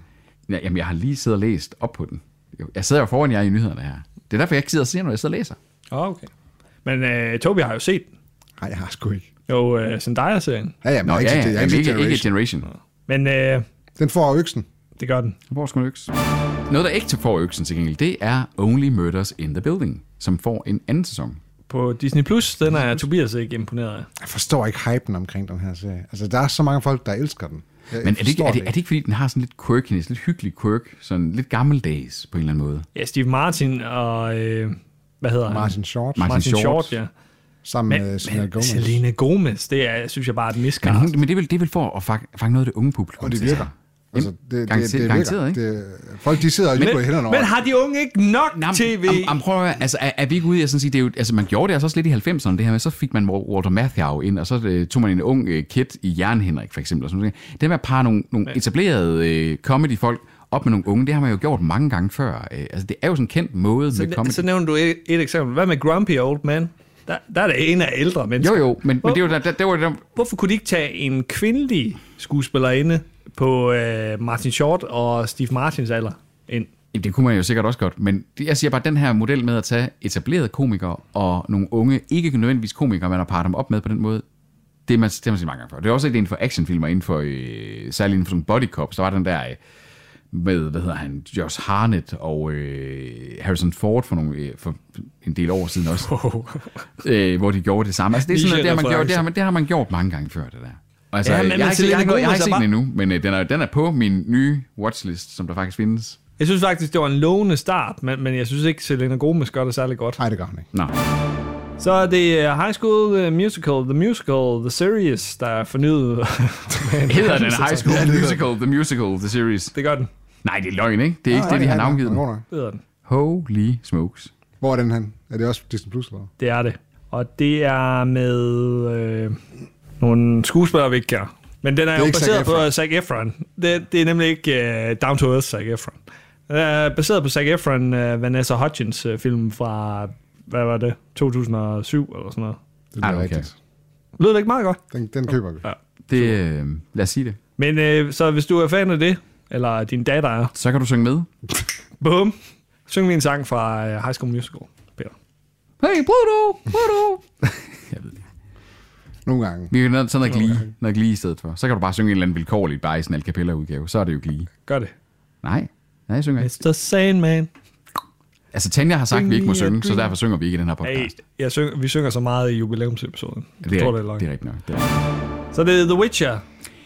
[SPEAKER 4] Ja, jamen, jeg har lige siddet og læst op på den. Jeg sidder jo foran jer i nyhederne her. Det er derfor, jeg ikke sidder og ser, når jeg sidder og læser.
[SPEAKER 2] Åh, oh, okay. Men øh, Tobi har jo set den.
[SPEAKER 3] Nej, jeg har sgu ikke.
[SPEAKER 2] jo øh, Zendaya-serien.
[SPEAKER 3] Ja, ja, men
[SPEAKER 4] Nå,
[SPEAKER 3] jeg har
[SPEAKER 4] ja,
[SPEAKER 3] ikke set-
[SPEAKER 4] ja,
[SPEAKER 3] jeg
[SPEAKER 4] ja,
[SPEAKER 3] har
[SPEAKER 4] ikke,
[SPEAKER 3] ikke set
[SPEAKER 4] ikke, ikke
[SPEAKER 3] Generation.
[SPEAKER 4] Generation.
[SPEAKER 2] Men øh,
[SPEAKER 3] Den får øksen.
[SPEAKER 2] det gør den.
[SPEAKER 4] Hvor skulle øks? Noget, der ikke får øksen til gengæld, det er Only Murders in the Building, som får en anden sæson.
[SPEAKER 2] På Disney+, Plus, den er Tobias ikke imponeret af.
[SPEAKER 3] Jeg forstår ikke hypen omkring den her serie. Altså, der er så mange folk, der elsker den. Jeg
[SPEAKER 4] Men er det, ikke,
[SPEAKER 3] forstår
[SPEAKER 4] er, det, er det ikke, fordi den har sådan lidt quirkiness, lidt hyggelig quirk, sådan lidt gammeldags på en eller anden måde?
[SPEAKER 2] Ja, Steve Martin og... Øh, hvad hedder
[SPEAKER 3] Martin
[SPEAKER 2] han?
[SPEAKER 3] Short,
[SPEAKER 4] Martin
[SPEAKER 2] Martin Short,
[SPEAKER 4] Short.
[SPEAKER 2] ja.
[SPEAKER 3] sammen
[SPEAKER 2] Men,
[SPEAKER 3] med Selena
[SPEAKER 2] men
[SPEAKER 3] Gomez.
[SPEAKER 2] Selena Gomez, det er, synes jeg bare er et
[SPEAKER 4] Men,
[SPEAKER 2] miskast.
[SPEAKER 4] hun, men det, er vel, det er vel for at fange, fange noget af det unge publikum.
[SPEAKER 3] Og det
[SPEAKER 4] til sig.
[SPEAKER 3] virker. Altså, det, det,
[SPEAKER 4] Garanteret-
[SPEAKER 3] det, det virker.
[SPEAKER 4] garanteret, ikke?
[SPEAKER 3] Det, folk, de sidder og lige på hænderne over.
[SPEAKER 2] men har de unge ikke nok
[SPEAKER 4] Nå, men-
[SPEAKER 2] tv?
[SPEAKER 4] Am, am, prøv at høre, altså, er, er, vi ikke ude i, at sådan sige, det er jo, altså, man gjorde det altså også lidt i 90'erne, det her med, så fik man Walter Matthau ind, og så øh, tog man en ung øh, kid i Jern Henrik, for eksempel. Og sådan noget. Det med at parre nogle, nogle etablerede øh, comedy-folk op med nogle unge, det har man jo gjort mange gange før. Øh, altså, det er jo sådan en kendt måde med
[SPEAKER 2] så,
[SPEAKER 4] comedy.
[SPEAKER 2] så nævner du et, et eksempel. Hvad med Grumpy Old Man? Der, der er det en af ældre mennesker.
[SPEAKER 4] jo, jo, men, men det, var, der, der, der var der,
[SPEAKER 2] Hvorfor kunne de ikke tage en kvindelig skuespillerinde på øh, Martin Short og Steve Martins alder ind?
[SPEAKER 4] Jamen, det kunne man jo sikkert også godt, men det- jeg siger bare, den her model med at tage etablerede komikere og nogle unge, ikke nødvendigvis komikere, man har parret dem op med på den måde, det er man, det har man set mange gange før. Det er også set inden for actionfilmer, inden for, øh, særligt inden for sådan body cops, der var den der øh, med, hvad hedder han, Josh Harnett og øh, Harrison Ford for, nogle, øh, for en del år siden også, øh, hvor de gjorde det samme. Altså, det, er sådan, noget, det, har man gjort, det, har man, det har man gjort mange gange før, det der. Og Altså,
[SPEAKER 2] Ja,
[SPEAKER 4] ja,
[SPEAKER 2] men-
[SPEAKER 4] men,
[SPEAKER 2] men
[SPEAKER 4] jeg, har ikke,
[SPEAKER 2] Selena
[SPEAKER 4] set- jeg, har ikke- jeg har
[SPEAKER 2] Gomez
[SPEAKER 4] ikke
[SPEAKER 2] er
[SPEAKER 4] set den
[SPEAKER 2] bare-
[SPEAKER 4] endnu, men øh, den, er, den er på min nye watchlist, som der faktisk findes.
[SPEAKER 2] Jeg synes faktisk, det var en lovende start, men, men jeg synes ikke, Selena Gomez gør det særlig godt.
[SPEAKER 3] Nej, det gør han ikke.
[SPEAKER 4] Nå.
[SPEAKER 2] Så er det øh, High School øh, Musical, The Musical, The Series, der er fornyet.
[SPEAKER 4] Hedder den High School Musical, The Musical, The Series?
[SPEAKER 2] det gør den.
[SPEAKER 4] Nej, det er løgn, ikke? Det er ikke det, de har navngivet den.
[SPEAKER 3] den.
[SPEAKER 2] Det hedder den.
[SPEAKER 4] Holy smokes.
[SPEAKER 3] Hvor er den han? Er det også Disney Plus, eller hvad?
[SPEAKER 2] Det er det. Og det er med øh, nogle skuespillere, vi ikke kender. Men den er, jo
[SPEAKER 3] ikke Zac
[SPEAKER 2] baseret på
[SPEAKER 3] Efron.
[SPEAKER 2] Zac Efron. Det, det er nemlig ikke øh, Down to Earth Zac Efron. Den er baseret på Zac Efron, øh, Vanessa Hudgens øh, film fra, hvad var det, 2007 eller sådan noget.
[SPEAKER 3] Det
[SPEAKER 4] Ah,
[SPEAKER 3] er
[SPEAKER 4] okay.
[SPEAKER 3] rigtigt.
[SPEAKER 2] Lyder det ikke meget godt?
[SPEAKER 3] Den, den køber vi.
[SPEAKER 4] Det, øh, lad os sige det.
[SPEAKER 2] Men øh, så hvis du er fan af det, eller din datter er,
[SPEAKER 4] Så kan du synge med.
[SPEAKER 2] bum, syng lige en sang fra øh, High School Musical, Peter.
[SPEAKER 4] Hey, Pluto! Pluto! jeg ved det ikke.
[SPEAKER 3] Nogle gange.
[SPEAKER 4] Vi kan noget, sådan noget glee, noget glee i stedet for. Så kan du bare synge en eller anden vilkårlig, bare i sådan en capella udgave. Så er det jo glee.
[SPEAKER 2] Gør det.
[SPEAKER 4] Nej, nej, jeg synger ikke.
[SPEAKER 2] It's the Sandman.
[SPEAKER 4] Altså, Tanja har sagt, at vi ikke må
[SPEAKER 2] Sing me a
[SPEAKER 4] synge, så
[SPEAKER 2] dream.
[SPEAKER 4] derfor synger vi ikke i den her podcast.
[SPEAKER 2] Hey, jeg syng, vi synger så meget i jubilæumsepisoden.
[SPEAKER 4] det,
[SPEAKER 2] Jeg
[SPEAKER 4] er,
[SPEAKER 2] tror,
[SPEAKER 4] det, er,
[SPEAKER 2] løgn.
[SPEAKER 4] det er rigtigt nok. Det er rigtigt.
[SPEAKER 2] Så det er The Witcher,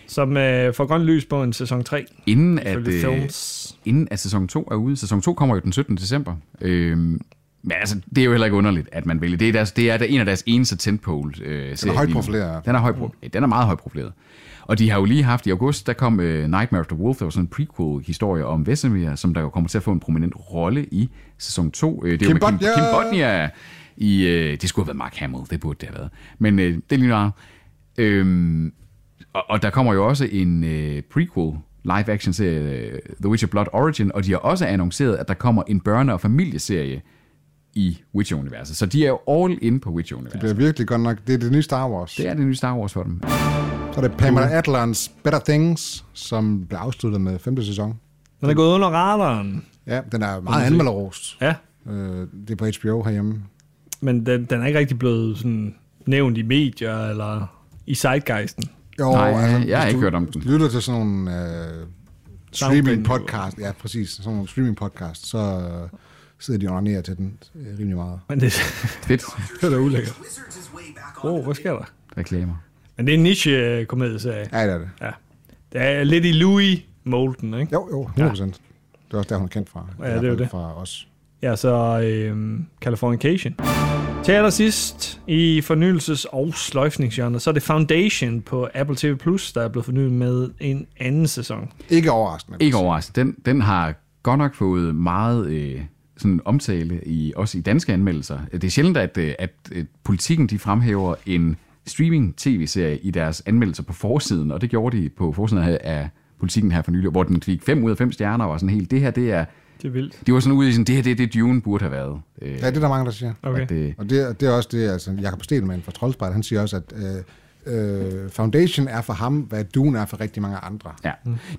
[SPEAKER 2] som øh, får grønt lys på en sæson 3.
[SPEAKER 4] Inden at,
[SPEAKER 2] Ifølge
[SPEAKER 4] øh,
[SPEAKER 2] films.
[SPEAKER 4] inden at sæson 2 er ude. Sæson 2 kommer jo den 17. december. Øhm, men altså, det er jo heller ikke underligt, at man vælger. Det er, deres, det er der- en af deres eneste tentpole øh, serier
[SPEAKER 3] højt
[SPEAKER 4] lige nu.
[SPEAKER 3] profileret.
[SPEAKER 4] Den er, højt, mm. den er meget højt profileret. Og de har jo lige haft i august, der kom øh, Nightmare of the Wolf, der var sådan en prequel-historie om Vesemir, som der jo kommer til at få en prominent rolle i sæson 2. Øh, det er
[SPEAKER 3] Kim
[SPEAKER 4] jo med Kim,
[SPEAKER 3] Bodnia!
[SPEAKER 4] Kim Bodnia! I, øh, det skulle have været Mark Hamill, det burde det have været. Men øh, det er lige meget. Øhm, og, og der kommer jo også en øh, prequel live-action-serie, øh, The Witcher Blood Origin, og de har også annonceret, at der kommer en børne- og familieserie i Witcher-universet. Så de er jo all in på
[SPEAKER 3] Det
[SPEAKER 4] Witcher-universet.
[SPEAKER 3] bliver virkelig godt nok. Det er det nye Star Wars.
[SPEAKER 4] Det er det nye Star Wars for dem.
[SPEAKER 3] Så er det Pamela Adlons Better Things, som blev afsluttet med femte sæson.
[SPEAKER 2] Den er gået under radaren.
[SPEAKER 3] Ja, den er meget anmelderost.
[SPEAKER 2] Ja,
[SPEAKER 3] Øh, det er på HBO herhjemme.
[SPEAKER 2] men den, den er ikke rigtig blevet sådan, nævnt i medier eller i sidegeisten.
[SPEAKER 3] Jo, altså,
[SPEAKER 4] Nej, jeg
[SPEAKER 3] hvis
[SPEAKER 4] har ikke
[SPEAKER 3] du
[SPEAKER 4] hørt om den.
[SPEAKER 3] Lytter til sådan nogle øh, streaming podcast, ja præcis, sådan nogle streaming podcast, så øh, sidder de og onanerer til den øh, rimelig meget.
[SPEAKER 2] Men det,
[SPEAKER 4] Fedt.
[SPEAKER 2] det er da ulækkert.
[SPEAKER 7] Wizards is way back on.
[SPEAKER 2] Wow, hvad sker der?
[SPEAKER 4] Reklamer.
[SPEAKER 2] Men det er en niche-komedieserie.
[SPEAKER 3] Ja, det er det.
[SPEAKER 2] Ja. Det er lidt i Louis Molten, ikke?
[SPEAKER 3] Jo, jo, 100 procent. Det er også der, hun er kendt fra. I hvert
[SPEAKER 2] det er jo
[SPEAKER 3] fald
[SPEAKER 2] det.
[SPEAKER 3] Fra os.
[SPEAKER 2] Ja, så øhm, Californication. Til allersidst i fornyelses- og sløjfningsgenre, så er det Foundation på Apple TV+, Plus, der er blevet fornyet med en anden sæson.
[SPEAKER 3] Ikke overraskende.
[SPEAKER 4] Ikke overraskende. Den, den har godt nok fået meget øh, sådan omtale, i, også i danske anmeldelser. Det er sjældent, at, øh, at, at politikken de fremhæver en streaming-tv-serie i deres anmeldelser på forsiden, og det gjorde de på forsiden af, af politikken her for nylig, hvor den fik 5 ud af 5 stjerner og var sådan helt, det her, det er...
[SPEAKER 2] Det er vildt.
[SPEAKER 4] De var sådan ude i sådan, det her, det er det, Dune burde have været. Øh,
[SPEAKER 3] Ja, det er der mange, der siger.
[SPEAKER 2] Okay.
[SPEAKER 4] at, øh,
[SPEAKER 3] Og det, det er også det, altså Jakob Stelmann fra Troldspejlet, han siger også, at øh, øh, Foundation er for ham, hvad Dune er for rigtig mange andre.
[SPEAKER 4] Ja.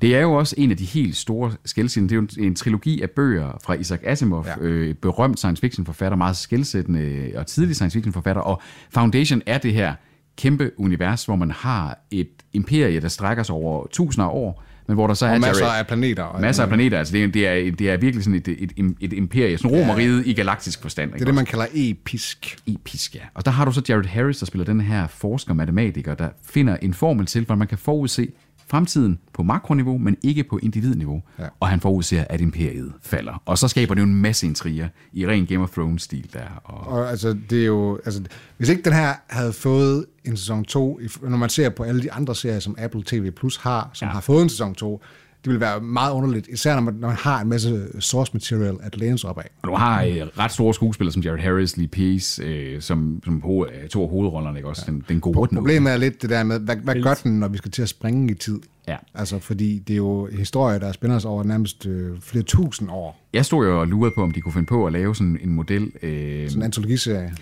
[SPEAKER 4] Det er jo også en af de helt store skældsættende. Det er jo en, en trilogi af bøger fra Isaac Asimov, ja.
[SPEAKER 3] Ja.
[SPEAKER 4] øh, berømt science fiction forfatter, meget skældsættende øh, og tidlig science fiction forfatter. Og Foundation er det her kæmpe univers, hvor man har et imperie, der strækker sig over tusinder af år, men hvor der så er
[SPEAKER 3] Og masser
[SPEAKER 4] Jared-
[SPEAKER 3] af planeter. Og
[SPEAKER 4] Masser af planeter, altså det er, det er, det er virkelig sådan et, et, et, et imperie, sådan romeriet i galaktisk forstand.
[SPEAKER 3] Det er det, man kalder episk.
[SPEAKER 4] Episk, ja. Og der har du så Jared Harris, der spiller den her forsker-matematiker, der finder en formel til, hvordan man kan forudse fremtiden på makroniveau, men ikke på individniveau. Ja. Og han forudser, at imperiet falder. Og så skaber det jo en masse intriger i ren Game of Thrones-stil der. Og
[SPEAKER 3] Og altså, det er jo, altså, hvis ikke den her havde fået en sæson 2, i- når man ser på alle de andre serier, som Apple TV Plus har, som ja. har fået en sæson 2, det ville være meget underligt, især når man, når man har en masse source material at læne sig op af.
[SPEAKER 4] og du har øh, ret store skuespillere som Jared Harris, Lee Pace, øh, som, som ho- øh, to af hovedrollerne, ikke også? Den, den gode og den onde.
[SPEAKER 3] Problemet er lidt det der med, hvad, hvad gør den, når vi skal til at springe i tid?
[SPEAKER 4] Ja.
[SPEAKER 3] Altså, fordi det er jo historier, der spænder os over nærmest øh, flere tusind år.
[SPEAKER 4] Jeg stod jo og lurede på, om de kunne finde på at lave sådan en model. Øh,
[SPEAKER 3] Sådan en antologiserie.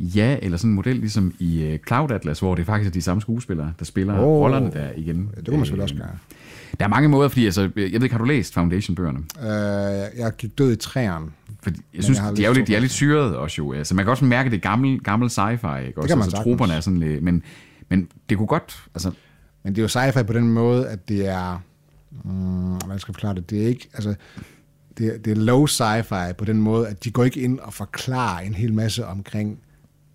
[SPEAKER 4] Ja, eller sådan en model ligesom i øh, Cloud Atlas, hvor det faktisk er de samme skuespillere, der spiller oh,
[SPEAKER 3] Åh.
[SPEAKER 4] rollerne der igen. Øh,
[SPEAKER 3] Det kunne man selvfølgelig også gøre.
[SPEAKER 4] Der er mange måder, fordi altså, jeg ved ikke, har du læst Foundation-bøgerne?
[SPEAKER 3] Øh, jeg gik død i træerne.
[SPEAKER 4] Fordi jeg synes,
[SPEAKER 3] jeg har
[SPEAKER 4] jeg de, er jo
[SPEAKER 3] læst
[SPEAKER 4] lidt, de er lidt syrede også jo. Altså, man kan også mærke, at det er gammel, gammel sci-fi, ikke? Også,
[SPEAKER 3] kan man
[SPEAKER 4] altså,
[SPEAKER 3] sagtens.
[SPEAKER 4] troperne er sådan lidt, men, men det kunne godt, altså,
[SPEAKER 3] Men det er jo sci-fi på den måde, at det er... Mm, hvordan skal jeg forklare det? Det er ikke... Altså, det, er- det er low sci-fi på den måde, at de går ikke ind og forklarer en hel masse omkring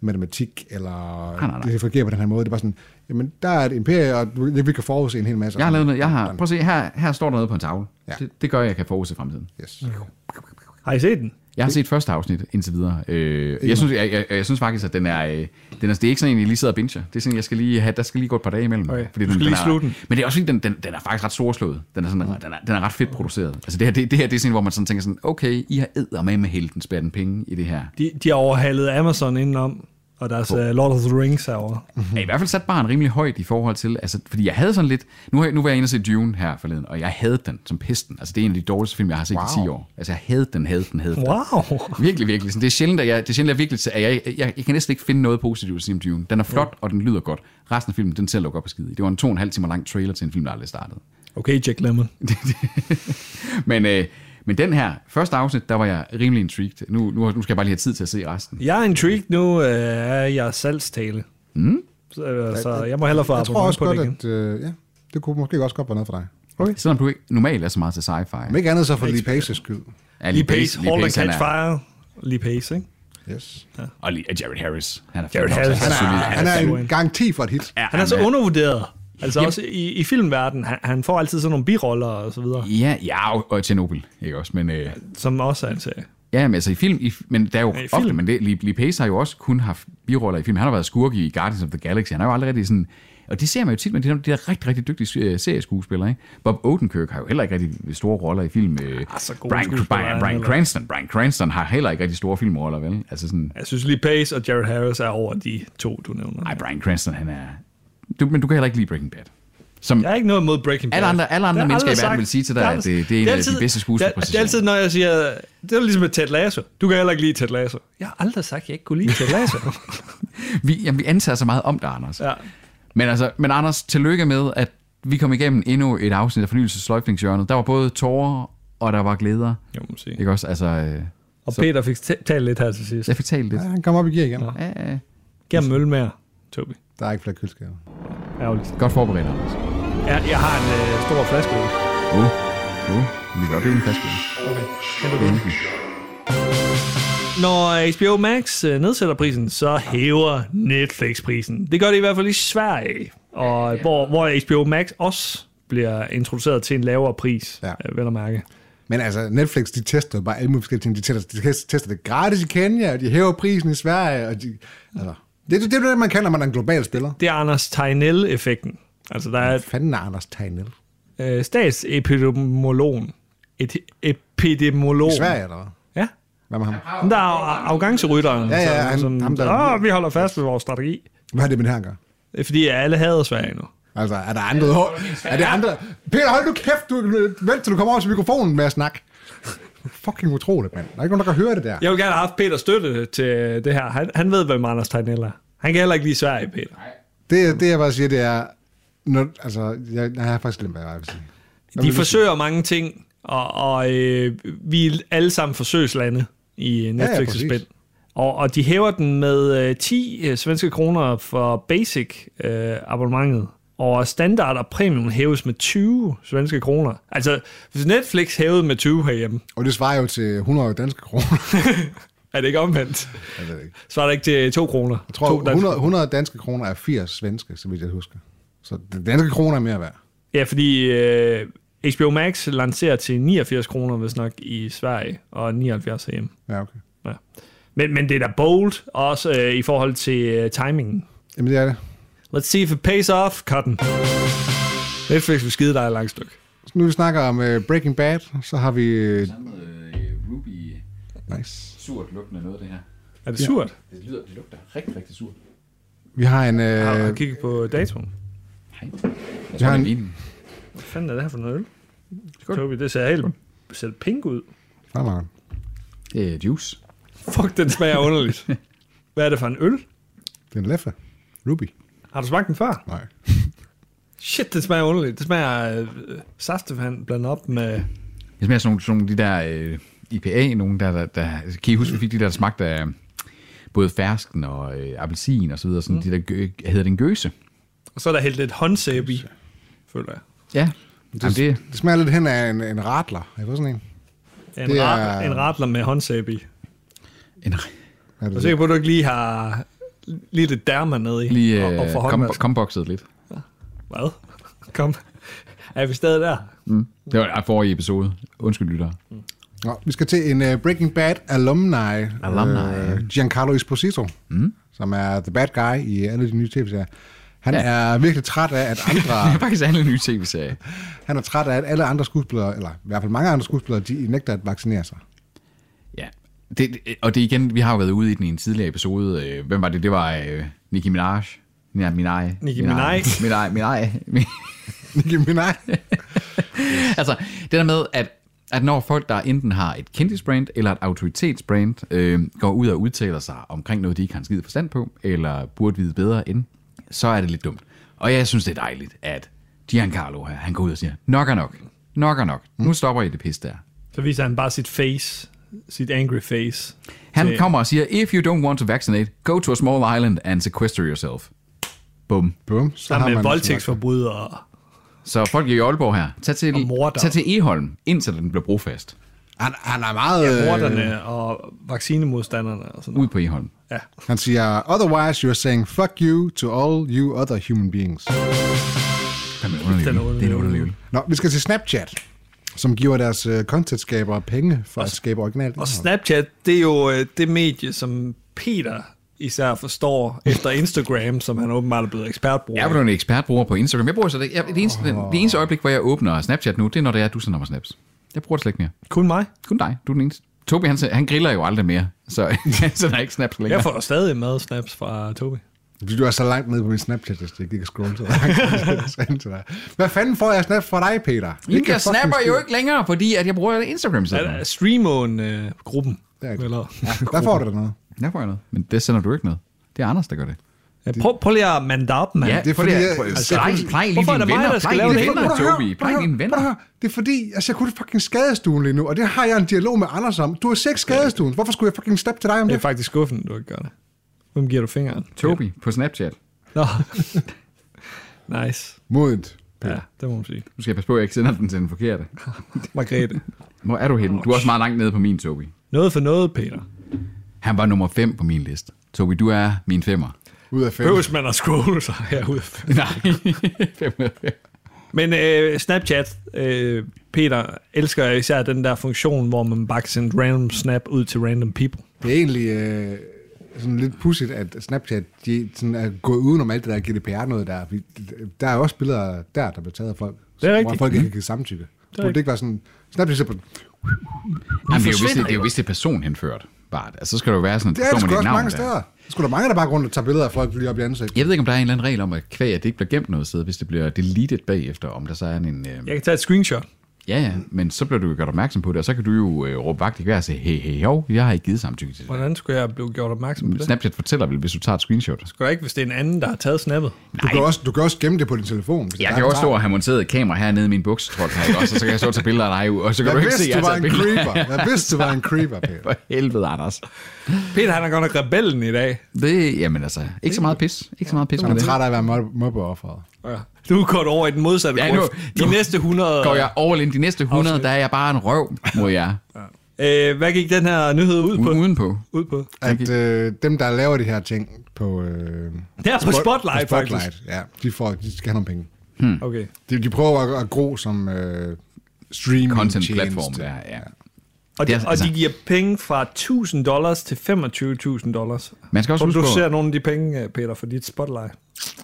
[SPEAKER 3] matematik, eller
[SPEAKER 4] Ah, Nej, nej, nej.
[SPEAKER 3] det fungerer på den her måde. Det er bare sådan, jamen, der er et imperie, og du- vi kan forudse en hel masse.
[SPEAKER 4] Jeg har lavet noget, jeg har,
[SPEAKER 3] Sådan.
[SPEAKER 4] prøv at se, her, her står der noget på en tavle.
[SPEAKER 3] Ja.
[SPEAKER 4] Ja. Det, det gør, at jeg kan forudse fremtiden.
[SPEAKER 3] Yes.
[SPEAKER 2] Har I set den?
[SPEAKER 4] Jeg har set første afsnit indtil videre. Øh, jeg, synes, jeg, jeg, jeg, synes faktisk, at den er, øh, den er, det er ikke sådan en, jeg lige sidder og binger. Det er sådan, jeg skal lige have, der skal lige gå et par dage imellem.
[SPEAKER 2] Okay.
[SPEAKER 4] Fordi
[SPEAKER 2] Du skal lige
[SPEAKER 4] er,
[SPEAKER 2] slutte den. Mm.
[SPEAKER 4] Men det er også fordi, den, den, den er faktisk ret storslået. Den er, sådan, den, er, den er ret fedt produceret. Altså det her, det, det her det er sådan, hvor man sådan tænker sådan, okay, I har æder med med hele den spærten penge i det her.
[SPEAKER 2] De, de har overhalet Amazon indenom, og deres uh, Lord of the Rings herovre.
[SPEAKER 4] er i hvert fald sat barn rimelig højt i forhold til, altså, fordi jeg havde sådan lidt, nu, har jeg- nu var jeg inde og se Dune her forleden, og jeg havde den som pesten. Altså, det er en af de dårligste film, jeg har set wow. i 10 år. Altså, jeg havde den, havde den, havde den.
[SPEAKER 2] Wow!
[SPEAKER 4] Virkelig, virkelig. Sådan, det er sjældent, at jeg, det er sjældent, at jeg virkelig, at jeg, jeg, jeg, jeg, kan næsten ikke finde noget positivt at sige om Dune. Den er flot, og den lyder godt. Resten af filmen, den ser lukke op og skide i. Det var en to og en halv timer lang trailer til en film, der aldrig startede.
[SPEAKER 2] Okay, Jack Lemmon.
[SPEAKER 4] Men, øh, men den her, første afsnit, der var jeg rimelig intrigued. Nu, nu, nu skal jeg bare lige have tid til at se resten.
[SPEAKER 2] Jeg er intrigued nu øh, af jeres salgstale. Mm. Så, øh, så jeg må hellere få
[SPEAKER 3] Jeg tror
[SPEAKER 2] abonnement
[SPEAKER 3] også
[SPEAKER 2] på det
[SPEAKER 3] godt,
[SPEAKER 2] igen.
[SPEAKER 3] at øh, ja, det kunne måske også godt være noget for dig.
[SPEAKER 4] Selvom du ikke normalt er så meget til sci-fi.
[SPEAKER 3] Om ikke andet så for Lee Paces skyld.
[SPEAKER 4] Ja,
[SPEAKER 2] Lee Pace,
[SPEAKER 4] Lee
[SPEAKER 2] Hold and
[SPEAKER 4] Pace, han
[SPEAKER 2] Catch
[SPEAKER 4] er-
[SPEAKER 2] Fire. Lee Pace, ikke?
[SPEAKER 3] Yes.
[SPEAKER 4] Og lige øh, Jared Harris. Han er
[SPEAKER 2] Jared Harris.
[SPEAKER 3] Han
[SPEAKER 4] Han
[SPEAKER 3] er,
[SPEAKER 4] er,
[SPEAKER 3] han er en garanti for et hit.
[SPEAKER 4] ja,
[SPEAKER 2] Han er så undervurderet. Altså
[SPEAKER 4] Jamen.
[SPEAKER 2] også i, i filmverdenen. Han, han får altid sådan nogle biroller og så videre,
[SPEAKER 4] Ja, ja, og- og Tjernobyl, ikke også? Men, øh,
[SPEAKER 2] som også er en serie.
[SPEAKER 4] ja, men altså i film, i, men der er jo
[SPEAKER 2] Ja, i
[SPEAKER 4] ofte,
[SPEAKER 2] film.
[SPEAKER 4] men det, Lee, Lee Pace har jo også kun haft biroller i film. Han har været skurk i Guardians of the Galaxy. Han er jo aldrig rigtig sådan... Og det ser man jo tit, men de er, de er rigtig, rigtig dygtige øh, serieskuespillere. Ikke? Bob Odenkirk har jo heller ikke rigtig store roller i film. Øh,
[SPEAKER 2] Ah, så gode
[SPEAKER 4] Brian,
[SPEAKER 2] skuespillere er
[SPEAKER 4] Brian,
[SPEAKER 2] han
[SPEAKER 4] Brian
[SPEAKER 2] heller.
[SPEAKER 4] Cranston. Brian Cranston har heller ikke rigtig store filmroller, vel? Altså sådan,
[SPEAKER 2] Jeg synes lige Pace og Jared Harris er over de to, du nævner.
[SPEAKER 4] nej, Brian Cranston, han er... Du, men du kan heller ikke lide Breaking Bad. Som,
[SPEAKER 2] Jeg er ikke noget mod Breaking Bad.
[SPEAKER 4] Alle andre- alle andre
[SPEAKER 2] Det har jeg
[SPEAKER 4] mennesker i
[SPEAKER 2] aldrig
[SPEAKER 4] verden
[SPEAKER 2] sagt.
[SPEAKER 4] vil sige til dig,
[SPEAKER 2] har jeg
[SPEAKER 4] at
[SPEAKER 2] aldrig-
[SPEAKER 4] det- det er en af de bedste skuespilpræstationer.
[SPEAKER 2] Det er altid, når jeg siger, det er jo ligesom med Ted Lasso. Du kan heller ikke lide Ted Lasso. Jeg har aldrig sagt, at jeg ikke kunne lide Ted Lasso.
[SPEAKER 4] vi, jamen, vi antager så meget om dig, Anders.
[SPEAKER 2] ja.
[SPEAKER 4] Men, altså, men Anders, tillykke med, at vi kom igennem endnu et afsnit af fornyelsesløjfningsjørnet. Der var både tårer, og der var glæder.
[SPEAKER 2] Jeg må sige.
[SPEAKER 4] Ikke også? Altså, øh,
[SPEAKER 2] Og Peter fik t- talt lidt her til sidst.
[SPEAKER 4] jeg fik talt lidt.
[SPEAKER 3] Ja, han kommer op i gear igen.
[SPEAKER 4] Ja, ja.
[SPEAKER 2] Giv ham øl mere, Tobi.
[SPEAKER 3] Der er ikke flere køleskaber.
[SPEAKER 2] Ærgerligt.
[SPEAKER 4] Godt forberedt, Anders.
[SPEAKER 2] Jeg, jeg har en øh, stor flaske. øl.
[SPEAKER 4] Uh, uh, vi gør det en fast øl.
[SPEAKER 2] Når HBO Max øh, nedsætter prisen, så hæver Netflix prisen. Det gør det i hvert fald i Sverige, og hvor, hvor HBO Max også bliver introduceret til en lavere pris,
[SPEAKER 3] Ja.
[SPEAKER 2] ja. vel at mærke.
[SPEAKER 3] Men altså, Netflix, de tester jo bare alle mulige forskellige ting. De tester, de tester det gratis i Kenya, og de hæver prisen i Sverige, og de... Altså, det, det, det er det, man kan, når man er en global spiller.
[SPEAKER 2] Det er Anders Tegnell-effekten. Altså, der er
[SPEAKER 3] Hvad fanden er Anders Tegnell?
[SPEAKER 2] øh, statsepidemologen. Et, epidemolog.
[SPEAKER 3] I Sverige, eller hvad?
[SPEAKER 2] Ja.
[SPEAKER 3] Hvad med ham?
[SPEAKER 2] Men der er ar- arrogancerytteren,
[SPEAKER 3] Ja, ja,
[SPEAKER 2] som,
[SPEAKER 3] han-
[SPEAKER 2] som
[SPEAKER 3] ham, der-
[SPEAKER 2] Åh, vi holder fast ved vores strategi.
[SPEAKER 3] Hvad har det med det her at gøre?
[SPEAKER 2] Det er fordi, alle hader Sverige nu.
[SPEAKER 3] Altså, er der andre hår? Er det andre? Peter, hold nu kæft! Du, vent til du kommer over til mikrofonen med at snakke. Fucking utroligt, mand. Der er ikke nogen, der kan høre det der.
[SPEAKER 2] Jeg vil gerne have haft Peter støtte til det her. Han, han ved, hvem Anders Tegnell er. Han kan heller ikke lide Sverige, Peter.
[SPEAKER 3] Det, det jeg bare siger, det er... Når, altså, jeg, jeg har faktisk glemt, hvad jeg vil sige. Hvad
[SPEAKER 2] De
[SPEAKER 3] vil du
[SPEAKER 2] forsøger mange ting, og, og øh, vi er alle sammen forsøgslande i netflix
[SPEAKER 3] præcis.
[SPEAKER 2] ja, ja, og, og de hæver den med øh, 10 øh, svenske kroner for basic øh, abonnementet. Og standard og premium hæves med 20 svenske kroner. Altså, hvis Netflix hævede med 20 herhjemme,
[SPEAKER 3] sige? Og det svarer jo til 100 danske kroner.
[SPEAKER 2] er det ikke omvendt.
[SPEAKER 3] jeg ved det ikke.
[SPEAKER 2] Så er det ikke til 2 kroner.
[SPEAKER 3] Jeg tror,
[SPEAKER 2] to danske-
[SPEAKER 3] 100, 100 danske kroner er 80 svenske, så vidt jeg husker. Så den danske kroner er mere værd.
[SPEAKER 2] Ja, fordi øh, HBO Max lancerer til 89 kroner, hvis nok, i Sverige, og 79 herhjemme.
[SPEAKER 3] Ja, okay.
[SPEAKER 2] Ja. Men, men det er da bold, også øh, i forhold til øh, timingen.
[SPEAKER 3] Jamen, det er det.
[SPEAKER 2] Let's see if it pays off, Cotton. Netflix vil skide dig et langt stykke.
[SPEAKER 3] Så nu vi snakker om uh, Breaking Bad, så har vi... Uh,
[SPEAKER 4] øh, Ruby,
[SPEAKER 3] nice.
[SPEAKER 4] surt lugtende noget, det her.
[SPEAKER 2] Er det surt?
[SPEAKER 4] Det, lyder, det lugter rigtig, rigtig surt.
[SPEAKER 3] Vi har en...
[SPEAKER 2] Jeg
[SPEAKER 3] Uh,
[SPEAKER 2] har kigget på datoen.
[SPEAKER 4] Jeg
[SPEAKER 3] tror,
[SPEAKER 4] tror,
[SPEAKER 3] det er
[SPEAKER 4] det er vinen.
[SPEAKER 2] Hvad fanden er det her for noget øl? Toby, det ser helt selv pink ud.
[SPEAKER 3] okay.
[SPEAKER 4] Det er juice.
[SPEAKER 2] Fuck, den smager underligt. Hvad er det for en øl?
[SPEAKER 3] Det er en leffe. Ruby.
[SPEAKER 2] Har du smagt den før?
[SPEAKER 3] Nej.
[SPEAKER 2] Shit, den smager underligt. Det smager øh, saftevand blandet op med...
[SPEAKER 4] Det smager sådan nogle, sådan nogle de der øh, IPA, nogle der, der, der, kan I huske, vi fik de der smagte af øh, både fersken og øh, appelsin og så videre, sådan mm. de der, gø, hedder den gøse?
[SPEAKER 2] Og så er der helt lidt håndsæbe i, føler jeg.
[SPEAKER 4] Ja, det, Jamen,
[SPEAKER 3] Det,
[SPEAKER 4] det,
[SPEAKER 3] det smager lidt hen af en, en radler. Er det sådan en?
[SPEAKER 2] Ja, En,
[SPEAKER 3] Det er-
[SPEAKER 2] radler, en radler med håndsæbe i.
[SPEAKER 4] en,
[SPEAKER 3] Er
[SPEAKER 2] Jeg er
[SPEAKER 3] det,
[SPEAKER 2] sikker
[SPEAKER 3] det?
[SPEAKER 2] på, at du ikke lige har
[SPEAKER 1] lige lidt der, man nede i.
[SPEAKER 4] Lige
[SPEAKER 1] og, og
[SPEAKER 4] øh,
[SPEAKER 1] forholde
[SPEAKER 4] kom,
[SPEAKER 1] mig-
[SPEAKER 4] kombokset lidt.
[SPEAKER 1] Hvad? Kom. Er vi stadig der?
[SPEAKER 4] Det var forrige episode. Undskyld, lyttere.
[SPEAKER 1] Mm.
[SPEAKER 3] Nå, vi skal til en uh, Breaking Bad alumni,
[SPEAKER 4] Alumni.
[SPEAKER 3] Uh, Giancarlo Esposito, mm. som er the bad guy i alle de nye tv-serier. Han
[SPEAKER 4] Ja.
[SPEAKER 3] ja. er virkelig træt af, at andre,
[SPEAKER 4] Det er faktisk alle nye tv-serie.
[SPEAKER 3] han er træt af, at alle andre skuespillere, eller i hvert fald mange andre skuespillere, de nægter at vaccinere sig.
[SPEAKER 4] Ja. Det, det- og det er igen, vi har jo været ude i den i en tidligere episode. Øh, Hvem var det? Det var øh, Nicki Minaj. Ja, Minaj.
[SPEAKER 1] Nicki Minaj.
[SPEAKER 4] Minaj, Minaj.
[SPEAKER 3] Nicki Minaj.
[SPEAKER 4] altså, det der med, at, at når folk, der enten har et kendisbrand eller et autoritetsbrand, øh, går ud og udtaler sig omkring noget, de ikke har en skid forstand på, eller burde vide bedre end, så er det lidt dumt. Og jeg synes, det er dejligt, at Giancarlo her, han går ud og siger, nok er nok, nok er nok,
[SPEAKER 1] Mm.
[SPEAKER 4] nu stopper I det pis der.
[SPEAKER 1] Så viser han bare sit face. Sit angry face.
[SPEAKER 4] Han
[SPEAKER 1] til-
[SPEAKER 4] kommer og siger, if you don't want to vaccinate, go to a small island and sequester yourself. Bum.
[SPEAKER 3] Bum, så har
[SPEAKER 1] Sammen med
[SPEAKER 3] man
[SPEAKER 1] voldtægtsforbrydere.
[SPEAKER 4] Så folk i Aalborg her, tag til,
[SPEAKER 1] Og mordere.
[SPEAKER 4] tag til Eholm, indtil den bliver brofast.
[SPEAKER 3] Han, han er meget... øh,
[SPEAKER 1] Morderne og vaccinemodstanderne og sådan noget.
[SPEAKER 4] Ud på Eholm.
[SPEAKER 1] Ja.
[SPEAKER 3] Han siger, otherwise you're saying fuck you to all you other human beings.
[SPEAKER 4] Fandme underlig
[SPEAKER 1] Den er
[SPEAKER 4] øl. Det er en
[SPEAKER 1] underlig
[SPEAKER 4] underlig
[SPEAKER 1] øl.
[SPEAKER 4] øl.
[SPEAKER 3] Nå, vi skal til Snapchat, som giver deres uh, content-skabere penge for at skabe originalt.
[SPEAKER 1] Og
[SPEAKER 3] indhold.
[SPEAKER 1] Snapchat, det er jo øh, det medie, som Peter især forstår efter Instagram, som han åbenbart er blevet ekspertbruger.
[SPEAKER 4] Jeg er jo en ekspertbruger på Instagram. Jeg bruger så det, jeg, det, eneste, det, det eneste øjeblik, hvor jeg åbner Snapchat nu, det er, når det er, at du sender mig snaps. Jeg bruger det slet ikke mere.
[SPEAKER 1] Kun mig.
[SPEAKER 4] Kun dig. Du er den eneste. Tobi, han, han griller jo aldrig mere, så han sender ikke snaps længere.
[SPEAKER 1] Jeg får stadig mad snaps fra Tobi.
[SPEAKER 3] Fordi du er så langt nede på min Snapchat, at jeg ikke kan scrolle så langt. til dig. Hvad fanden får jeg snap fra dig, Peter?
[SPEAKER 4] Jamen,
[SPEAKER 3] Ikke fucking
[SPEAKER 4] jeg snapper jo
[SPEAKER 3] skid.
[SPEAKER 4] ikke længere, fordi at jeg bruger Instagram
[SPEAKER 1] Er
[SPEAKER 4] selv.
[SPEAKER 1] der Streamon-gruppen?
[SPEAKER 3] Det er ikke-
[SPEAKER 1] Eller?
[SPEAKER 3] Der får du da noget.
[SPEAKER 4] Der får jeg noget. Men det sender du ikke noget. Det er Anders, der gør det.
[SPEAKER 1] Ja, prøv, prøv lige at mande dig op, mand.
[SPEAKER 4] Ja, det er fordi, jeg...
[SPEAKER 3] altså,
[SPEAKER 4] Plej,
[SPEAKER 3] det er-
[SPEAKER 4] plej lige
[SPEAKER 1] Hvorfor er
[SPEAKER 4] dine
[SPEAKER 1] det mig,
[SPEAKER 4] venner,
[SPEAKER 1] der skal
[SPEAKER 4] plej
[SPEAKER 1] lave
[SPEAKER 4] dine
[SPEAKER 1] det?
[SPEAKER 4] venner,
[SPEAKER 3] Prøv at høre,
[SPEAKER 4] Tobi.
[SPEAKER 3] prøv at
[SPEAKER 4] Plej
[SPEAKER 3] høre,
[SPEAKER 4] dine
[SPEAKER 3] prøv at
[SPEAKER 4] venner.
[SPEAKER 3] høre. Det er fordi, altså, jeg kunne fucking skadestuen lige nu, og det har jeg en dialog med Anders om. Du har set skadestuen. Hvorfor skulle jeg fucking snappe til dig om
[SPEAKER 1] Det
[SPEAKER 3] det?
[SPEAKER 1] er faktisk skuffende, du ikke gør det. Hvem giver du fingeren?
[SPEAKER 4] Tobi på Snapchat.
[SPEAKER 1] Nå. nice.
[SPEAKER 3] Modent.
[SPEAKER 1] Ja, det må man sige.
[SPEAKER 4] Nu skal jeg passe på, at jeg ikke sender den til den forkerte.
[SPEAKER 1] Margrethe.
[SPEAKER 4] Hvor er du henne? Du er også meget langt nede på min, Tobi.
[SPEAKER 1] Noget for noget, Peter.
[SPEAKER 4] Han var nummer 5 på min liste. Tobi, du er min femmer.
[SPEAKER 3] Ud af fem.
[SPEAKER 1] Behøves man at scrolle sig herude.
[SPEAKER 4] Nej, fem ud af fem.
[SPEAKER 1] Men øh, Snapchat, øh, Peter, elsker jeg især den der funktion, hvor man bare kan sende random snap ud til random people.
[SPEAKER 3] Det er egentlig øh, sådan lidt pudsigt, at Snapchat de sådan er gået udenom alt det der GDPR-noget der. Vi- Der er jo også billeder der, der bliver taget af folk.
[SPEAKER 1] Det er
[SPEAKER 3] Hvor
[SPEAKER 1] rigtigt.
[SPEAKER 3] folk ikke kan give samtykke. Det Burde det ikke være sådan... Snapchat så på den.
[SPEAKER 4] Jamen, det, er jo vist, det er jo vist det personhenført. Bare. Altså, så skal det jo være sådan, at
[SPEAKER 3] Det er det sgu
[SPEAKER 4] står med dit
[SPEAKER 3] også
[SPEAKER 4] navn
[SPEAKER 3] mange
[SPEAKER 4] der.
[SPEAKER 3] steder. Der skulle der mange, der bare går rundt og tager billeder af folk lige op i ansigtet.
[SPEAKER 4] Jeg ved ikke, om der er en eller anden regel om, at kvæg, at det ikke bliver gemt noget sted, hvis det bliver deleted bagefter, om der så er en... Øh...
[SPEAKER 1] Jeg kan tage et screenshot.
[SPEAKER 4] Ja, ja, men så bliver du jo gjort opmærksom på det, og så kan du jo øh, råbe vagt i gevær og sige, hey, hey, hov, jeg har ikke givet samtykke til det.
[SPEAKER 1] Hvordan skulle jeg blive gjort opmærksom på det?
[SPEAKER 4] Snapchat fortæller vel, hvis du tager et screenshot.
[SPEAKER 1] Skulle jeg ikke, hvis det er en anden, der har taget snappet?
[SPEAKER 3] Du kan, også, du kan også gemme det på din telefon. hvis
[SPEAKER 4] Jeg
[SPEAKER 3] der
[SPEAKER 4] kan
[SPEAKER 3] er
[SPEAKER 4] jo
[SPEAKER 3] en
[SPEAKER 4] også stå
[SPEAKER 3] far.
[SPEAKER 4] og have monteret et kamera hernede i min buksetrop her, ikke? også? Og så kan jeg stå og tage billeder af dig, og så kan
[SPEAKER 3] Jeg
[SPEAKER 4] du ikke se,
[SPEAKER 3] vidste,
[SPEAKER 4] at jeg
[SPEAKER 3] du var
[SPEAKER 4] har taget
[SPEAKER 3] en
[SPEAKER 4] billeder.
[SPEAKER 3] creeper. Jeg vidste, du var en creeper, Peter.
[SPEAKER 4] For helvede, Anders.
[SPEAKER 1] Peter, han er godt nok rebellen i dag.
[SPEAKER 4] Det, jamen altså, ikke så meget pis. Ikke så meget pis
[SPEAKER 3] Han
[SPEAKER 4] med
[SPEAKER 3] er
[SPEAKER 4] det.
[SPEAKER 3] træt af at være mob- mobbeofferet.
[SPEAKER 1] Ja. Du er gået over i den modsatte
[SPEAKER 4] Ja,
[SPEAKER 1] ja,
[SPEAKER 4] nu-
[SPEAKER 1] nu, De
[SPEAKER 4] nu
[SPEAKER 1] næste 100...
[SPEAKER 4] Går jeg all in de næste 100,
[SPEAKER 1] Afsnit.
[SPEAKER 4] der er jeg bare en røv mod jer.
[SPEAKER 1] Øh, hvad gik den her nyhed ud på?
[SPEAKER 4] U- udenpå.
[SPEAKER 1] Ud på?
[SPEAKER 3] At øh, dem, der laver de her ting på... Øh,
[SPEAKER 1] Der på
[SPEAKER 3] spot-
[SPEAKER 1] Spotlight,
[SPEAKER 3] på Spotlight,
[SPEAKER 1] faktisk.
[SPEAKER 3] Ja, de, får, de skal have nogle penge.
[SPEAKER 4] Mm.
[SPEAKER 1] Okay.
[SPEAKER 3] De, de prøver at, at gro som øh, streaming
[SPEAKER 4] Content-platform der, ja.
[SPEAKER 1] Og de,
[SPEAKER 4] Det
[SPEAKER 1] og
[SPEAKER 4] er-
[SPEAKER 1] de
[SPEAKER 4] altså-
[SPEAKER 1] giver penge fra 1000 dollars til 25.000 dollars.
[SPEAKER 4] Man skal også
[SPEAKER 1] Tror du,
[SPEAKER 4] huske
[SPEAKER 1] du
[SPEAKER 4] på-
[SPEAKER 1] ser nogle af de penge, øh, Peter, for dit Spotlight?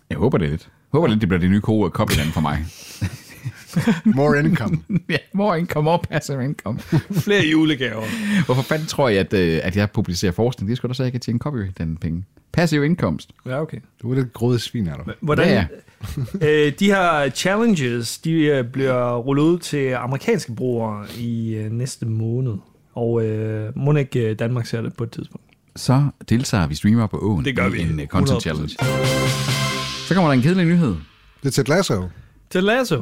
[SPEAKER 4] Jeg håber det lidt. Jeg håber lidt, det bliver det nye kode copyland for mig.
[SPEAKER 3] More income.
[SPEAKER 4] ja, more income, more passive income.
[SPEAKER 1] Flere julegaver.
[SPEAKER 4] Hvorfor fanden tror jeg, at, øh, at jeg publicerer forskning? Det er sgu da så, jeg kan tjene copy den penge. Passiv indkomst.
[SPEAKER 1] Ja, okay.
[SPEAKER 3] Du er lidt grådet svin, er du?
[SPEAKER 1] Hvordan,
[SPEAKER 4] Ja,
[SPEAKER 1] ja, ja. øh, de her challenges, de øh, bliver rullet ud til amerikanske brugere i øh, næste måned. Og øh, må ikke øh, Danmark ser det på et tidspunkt.
[SPEAKER 4] Så deltager vi streamer på åen
[SPEAKER 1] Det gør
[SPEAKER 4] i
[SPEAKER 1] vi.
[SPEAKER 4] en øh, content
[SPEAKER 1] 100%.
[SPEAKER 4] challenge. Så kommer der en kedelig nyhed.
[SPEAKER 3] Det er Ted Lasso.
[SPEAKER 1] Til Lasso.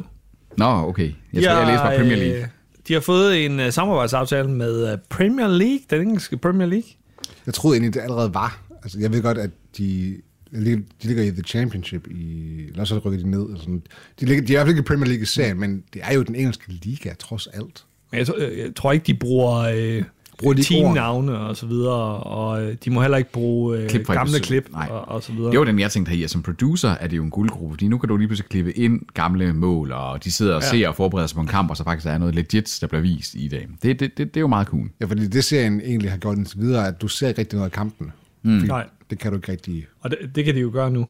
[SPEAKER 4] Nå, okay. Jeg tror, jeg læser bare Premier League.
[SPEAKER 1] Øh, de har fået en øh, samarbejdsaftale med øh, Premier League, den engelske Premier League.
[SPEAKER 3] Jeg troede egentlig, det allerede var. Altså, jeg ved godt, at de, de ligger i The Championship i... Eller så rykker de ned. Og sådan. De, ligger, de er i hvert fald ikke i Premier League i serien, men det er jo den engelske liga, trods alt.
[SPEAKER 1] Men jeg, tror- øh, jeg tror ikke, de bruger øh,
[SPEAKER 3] Bruger de ikke ordene?
[SPEAKER 2] teamnavne og så videre, og øh, de må heller ikke bruge øh,
[SPEAKER 4] Klip fra
[SPEAKER 2] gamle
[SPEAKER 4] episoden.
[SPEAKER 2] klip
[SPEAKER 4] Nej.
[SPEAKER 2] og, og så videre.
[SPEAKER 4] Det var den, jeg tænkte her i, at som producer er det jo en guldgruppe, fordi nu kan du lige pludselig klippe ind gamle mål, og de sidder og ja. ser og forbereder sig på en kamp, og så faktisk er noget legit, der bliver vist i dag. Det, det, det, det er jo meget cool.
[SPEAKER 3] Ja, fordi det serien egentlig har gjort indtil videre, at du ser ikke rigtig noget af kampen. Mm.
[SPEAKER 2] Nej,
[SPEAKER 3] Det kan du ikke rigtig...
[SPEAKER 2] og det, det kan de jo gøre nu.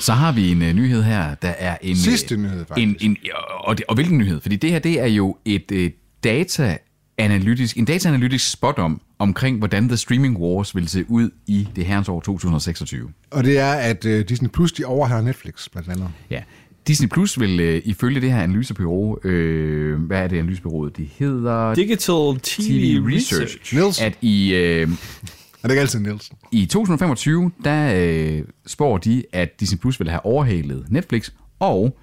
[SPEAKER 4] Så har vi en uh, nyhed her, der er en... øh,
[SPEAKER 3] Sidste nyhed,
[SPEAKER 4] en,
[SPEAKER 3] faktisk.
[SPEAKER 4] en, og, det, og hvilken nyhed? Fordi det her, det er jo et uh, data-analytisk, en dataanalytisk spot om, omkring hvordan The Streaming Wars vil se ud i det herrens år 2026.
[SPEAKER 3] Og det er, at uh, Disney Plus, de overhaler Netflix, blandt andet.
[SPEAKER 4] Ja. Disney Plus vil øh, ifølge det her analysebyrå, øh, hvad er det analysebyrået, det hedder?
[SPEAKER 2] Digital TV,
[SPEAKER 4] TV
[SPEAKER 2] Research.
[SPEAKER 4] Research,
[SPEAKER 3] Niels.
[SPEAKER 4] at i,
[SPEAKER 3] Og
[SPEAKER 4] øh,
[SPEAKER 3] det er ikke altid Nielsen.
[SPEAKER 4] i 2025, der øh, spår de, at Disney Plus vil have overhalet Netflix, og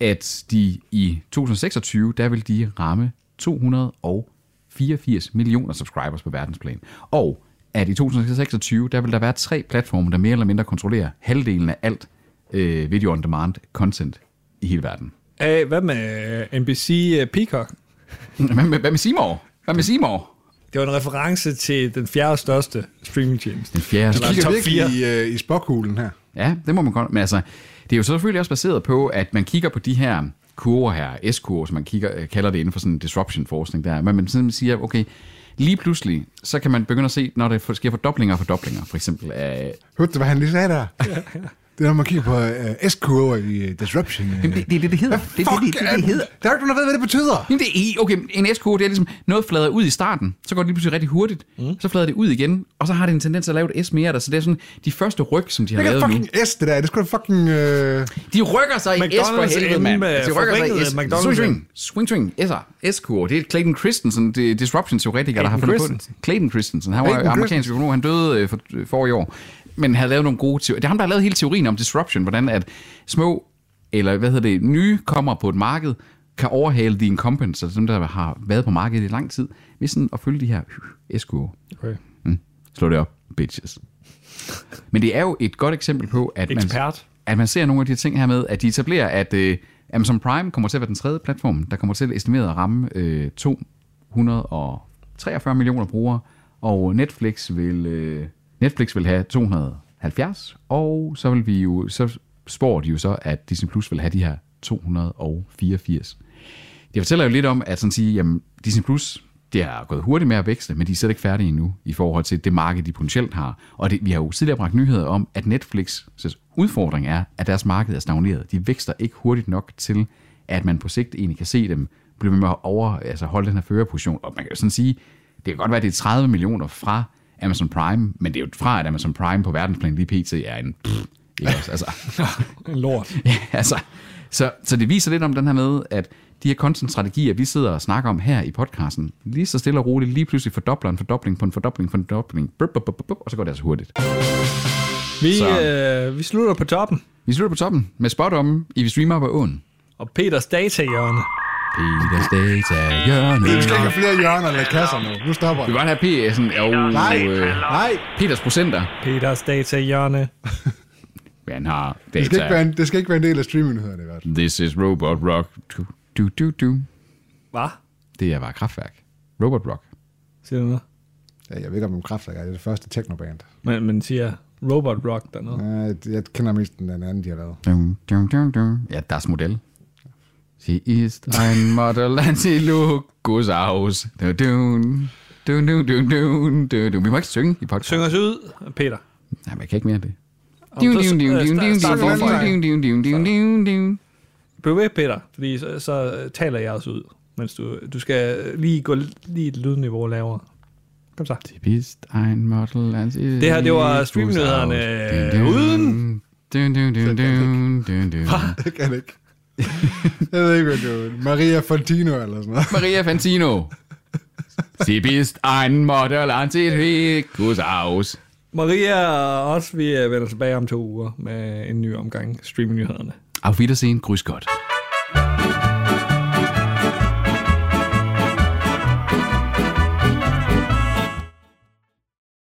[SPEAKER 4] at de i 2026, der vil de ramme 284 millioner subscribers på verdensplan. Og at i 2026, der vil der være tre platforme, der mere eller mindre kontrollerer halvdelen af alt øh, video on demand content i hele verden.
[SPEAKER 2] Hey, hvad med øh, NBC øh, Peacock?
[SPEAKER 4] Hvad med, hvad med Seymour? Hvad med Seymour?
[SPEAKER 2] Det var en reference til den fjerde største streamingtjeneste.
[SPEAKER 4] Den fjerde
[SPEAKER 3] De kigger
[SPEAKER 2] top
[SPEAKER 3] virkelig i, uh, i spokhulen her.
[SPEAKER 4] Ja, det må man godt. Men altså, det er jo så selvfølgelig også baseret på, at man kigger på de her kurver her, S-kurver, som man kigger, øh, kalder det inden for sådan disruption forskning der, men man simpelthen siger, okay, lige pludselig, så kan man begynde at se, når der for- sker fordoblinger og fordoblinger, for eksempel af...
[SPEAKER 3] Hørte du, hvad han lige sagde der? det er, når man kigger på uh, S-kurver i uh, Disruption. Uh.
[SPEAKER 4] Jamen, det, det er det, det hedder. Det, er det, det, det, det, det hedder.
[SPEAKER 3] Der er ikke nogen, der ved, hvad det betyder.
[SPEAKER 4] Jamen, det er, i- okay, en SQ, det er ligesom, noget flader ud i starten, så går det lige pludselig rigtig hurtigt, mm. så flader det ud igen, og så har det en tendens til at lave et S mere der, så det er sådan de første ryg, som de har
[SPEAKER 3] Det er
[SPEAKER 4] lavet nu.
[SPEAKER 3] fucking S, det der. Det skulle fucking... Uh,
[SPEAKER 4] De rykker sig i S for
[SPEAKER 2] McDonald's
[SPEAKER 4] helvede,
[SPEAKER 2] inde
[SPEAKER 4] mand. Altså,
[SPEAKER 2] med
[SPEAKER 4] De rykker sig i
[SPEAKER 2] forvrængede
[SPEAKER 4] S.
[SPEAKER 2] McDonald's.
[SPEAKER 4] Swing, swing, swing, swing, S'er, S-kur. Det er Clayton Christensen, det er disruption-teoretiker, der har fundet på det.
[SPEAKER 2] Christensen.
[SPEAKER 4] Clayton Christensen, han var
[SPEAKER 3] Clayton
[SPEAKER 4] amerikansk
[SPEAKER 3] Christensen.
[SPEAKER 4] økonom, han døde øh, for, øh, for i år, men havde lavet nogle gode teorier. Det er ham, der har lavet hele teorien om disruption, hvordan at små, eller hvad hedder det, nye kommer på et marked, kan overhale de incumbents, altså dem, der har været på markedet i lang tid, ved sådan at følge de her S-kurver.
[SPEAKER 2] Okay.
[SPEAKER 4] Mm. Slå det op, bitches. Men det er jo et godt eksempel på, at man,
[SPEAKER 2] Ekspert.
[SPEAKER 4] at man ser nogle af de ting her med, at de etablerer, at øh, Amazon Prime kommer til at være den tredje platform, der kommer til at estimeret at ramme øh, 243 millioner brugere, og Netflix vil, øh, Netflix vil have 270, og så vil vi jo, så spår de jo så, at Disney Plus vil have de her 284 det fortæller jo lidt om, at sådan sige, jamen, Disney Plus, det har gået hurtigt med at vækste, men de er slet ikke færdige endnu i forhold til det marked, de potentielt har. Og det, vi har jo tidligere bragt nyheder om, at Netflix' udfordring er, at deres marked er stagneret. De vækster ikke hurtigt nok til, at man på sigt egentlig kan se dem blive ved med at over, altså holde den her førerposition. Og man kan jo sådan sige, det kan godt være, at det er 30 millioner fra Amazon Prime, men det er jo fra, at Amazon Prime på verdensplan lige pt. er en... Pff, ikke også? Altså,
[SPEAKER 2] Lort.
[SPEAKER 4] Ja, altså, så, så det viser lidt om den her med, at de her content-strategier, vi sidder og snakker om her i podcasten, lige så stille og roligt, lige pludselig fordobler en fordobling på en fordobling på en fordobling, bup, bup, bup, bup, bup, og så går det altså hurtigt.
[SPEAKER 2] Vi,
[SPEAKER 4] Så-
[SPEAKER 2] øh, vi slutter på toppen,
[SPEAKER 4] Vi slutter på toppen med spot om, i vi streamer på åen.
[SPEAKER 2] og Peters datahjørne.
[SPEAKER 4] Peters data, hjørne.
[SPEAKER 3] det stikker flere hjørner eller kasser nu. Nu stopper
[SPEAKER 4] Vi
[SPEAKER 3] det.
[SPEAKER 4] kan godt have P'en. Oh,
[SPEAKER 3] Nej,
[SPEAKER 4] øh,
[SPEAKER 3] nej.
[SPEAKER 4] Peters procenter.
[SPEAKER 2] Peters datahjørne.
[SPEAKER 4] Han har
[SPEAKER 3] Det skal, ikke være
[SPEAKER 4] data.
[SPEAKER 3] en, det skal ikke være en del af streamingnyhederne i hvert fald.
[SPEAKER 4] This is robot rock. Du, du, du, du.
[SPEAKER 2] Hvad?
[SPEAKER 4] Det er bare kraftværk. Robot rock.
[SPEAKER 2] Siger du noget?
[SPEAKER 3] Ja, jeg ved ikke, om det er Kraftwerk er det første technoband.
[SPEAKER 2] Men, men siger robot rock dernede. Ja.
[SPEAKER 3] Uh, jeg kender mest den anden, de har lavet.
[SPEAKER 4] Dum, dum, dum, dum. Ja, das Modell. Sie ist ein Model and sie looks aus. Du, du, du, du, du, du, du, du. Vi må ikke synge i podcast.
[SPEAKER 2] Syng os ud, Peter.
[SPEAKER 4] Nej, man kan ikke mere end det.
[SPEAKER 2] Jamen, så- øh, start- start forfra.
[SPEAKER 4] Du-du-du-du-du-du-du-du-du-du-du-du.
[SPEAKER 2] Bliv ved, Peter, fordi så, så øh, taler jeg også ud, mens du, du skal lige gå l- lige et lydniveau lavere. Kom så.
[SPEAKER 4] Du bist ein Model and sie
[SPEAKER 2] Det her, det var
[SPEAKER 4] looks
[SPEAKER 2] streamnyhederne øh,
[SPEAKER 4] aus. Dun, dun.
[SPEAKER 2] uden.
[SPEAKER 4] Dun, dun, dun, dun, dun, dun.
[SPEAKER 3] Det kan jeg ikke. Jeg ved ikke, hvad det var. Maria Fontino eller sådan noget.
[SPEAKER 4] Maria Fantino. Sie bist ein Model and sie looks aus.
[SPEAKER 2] Maria og os, vi øh, vender tilbage om to uger med en ny omgang streamingnyhederne.
[SPEAKER 4] Auf Wiedersehen, grüß Gott.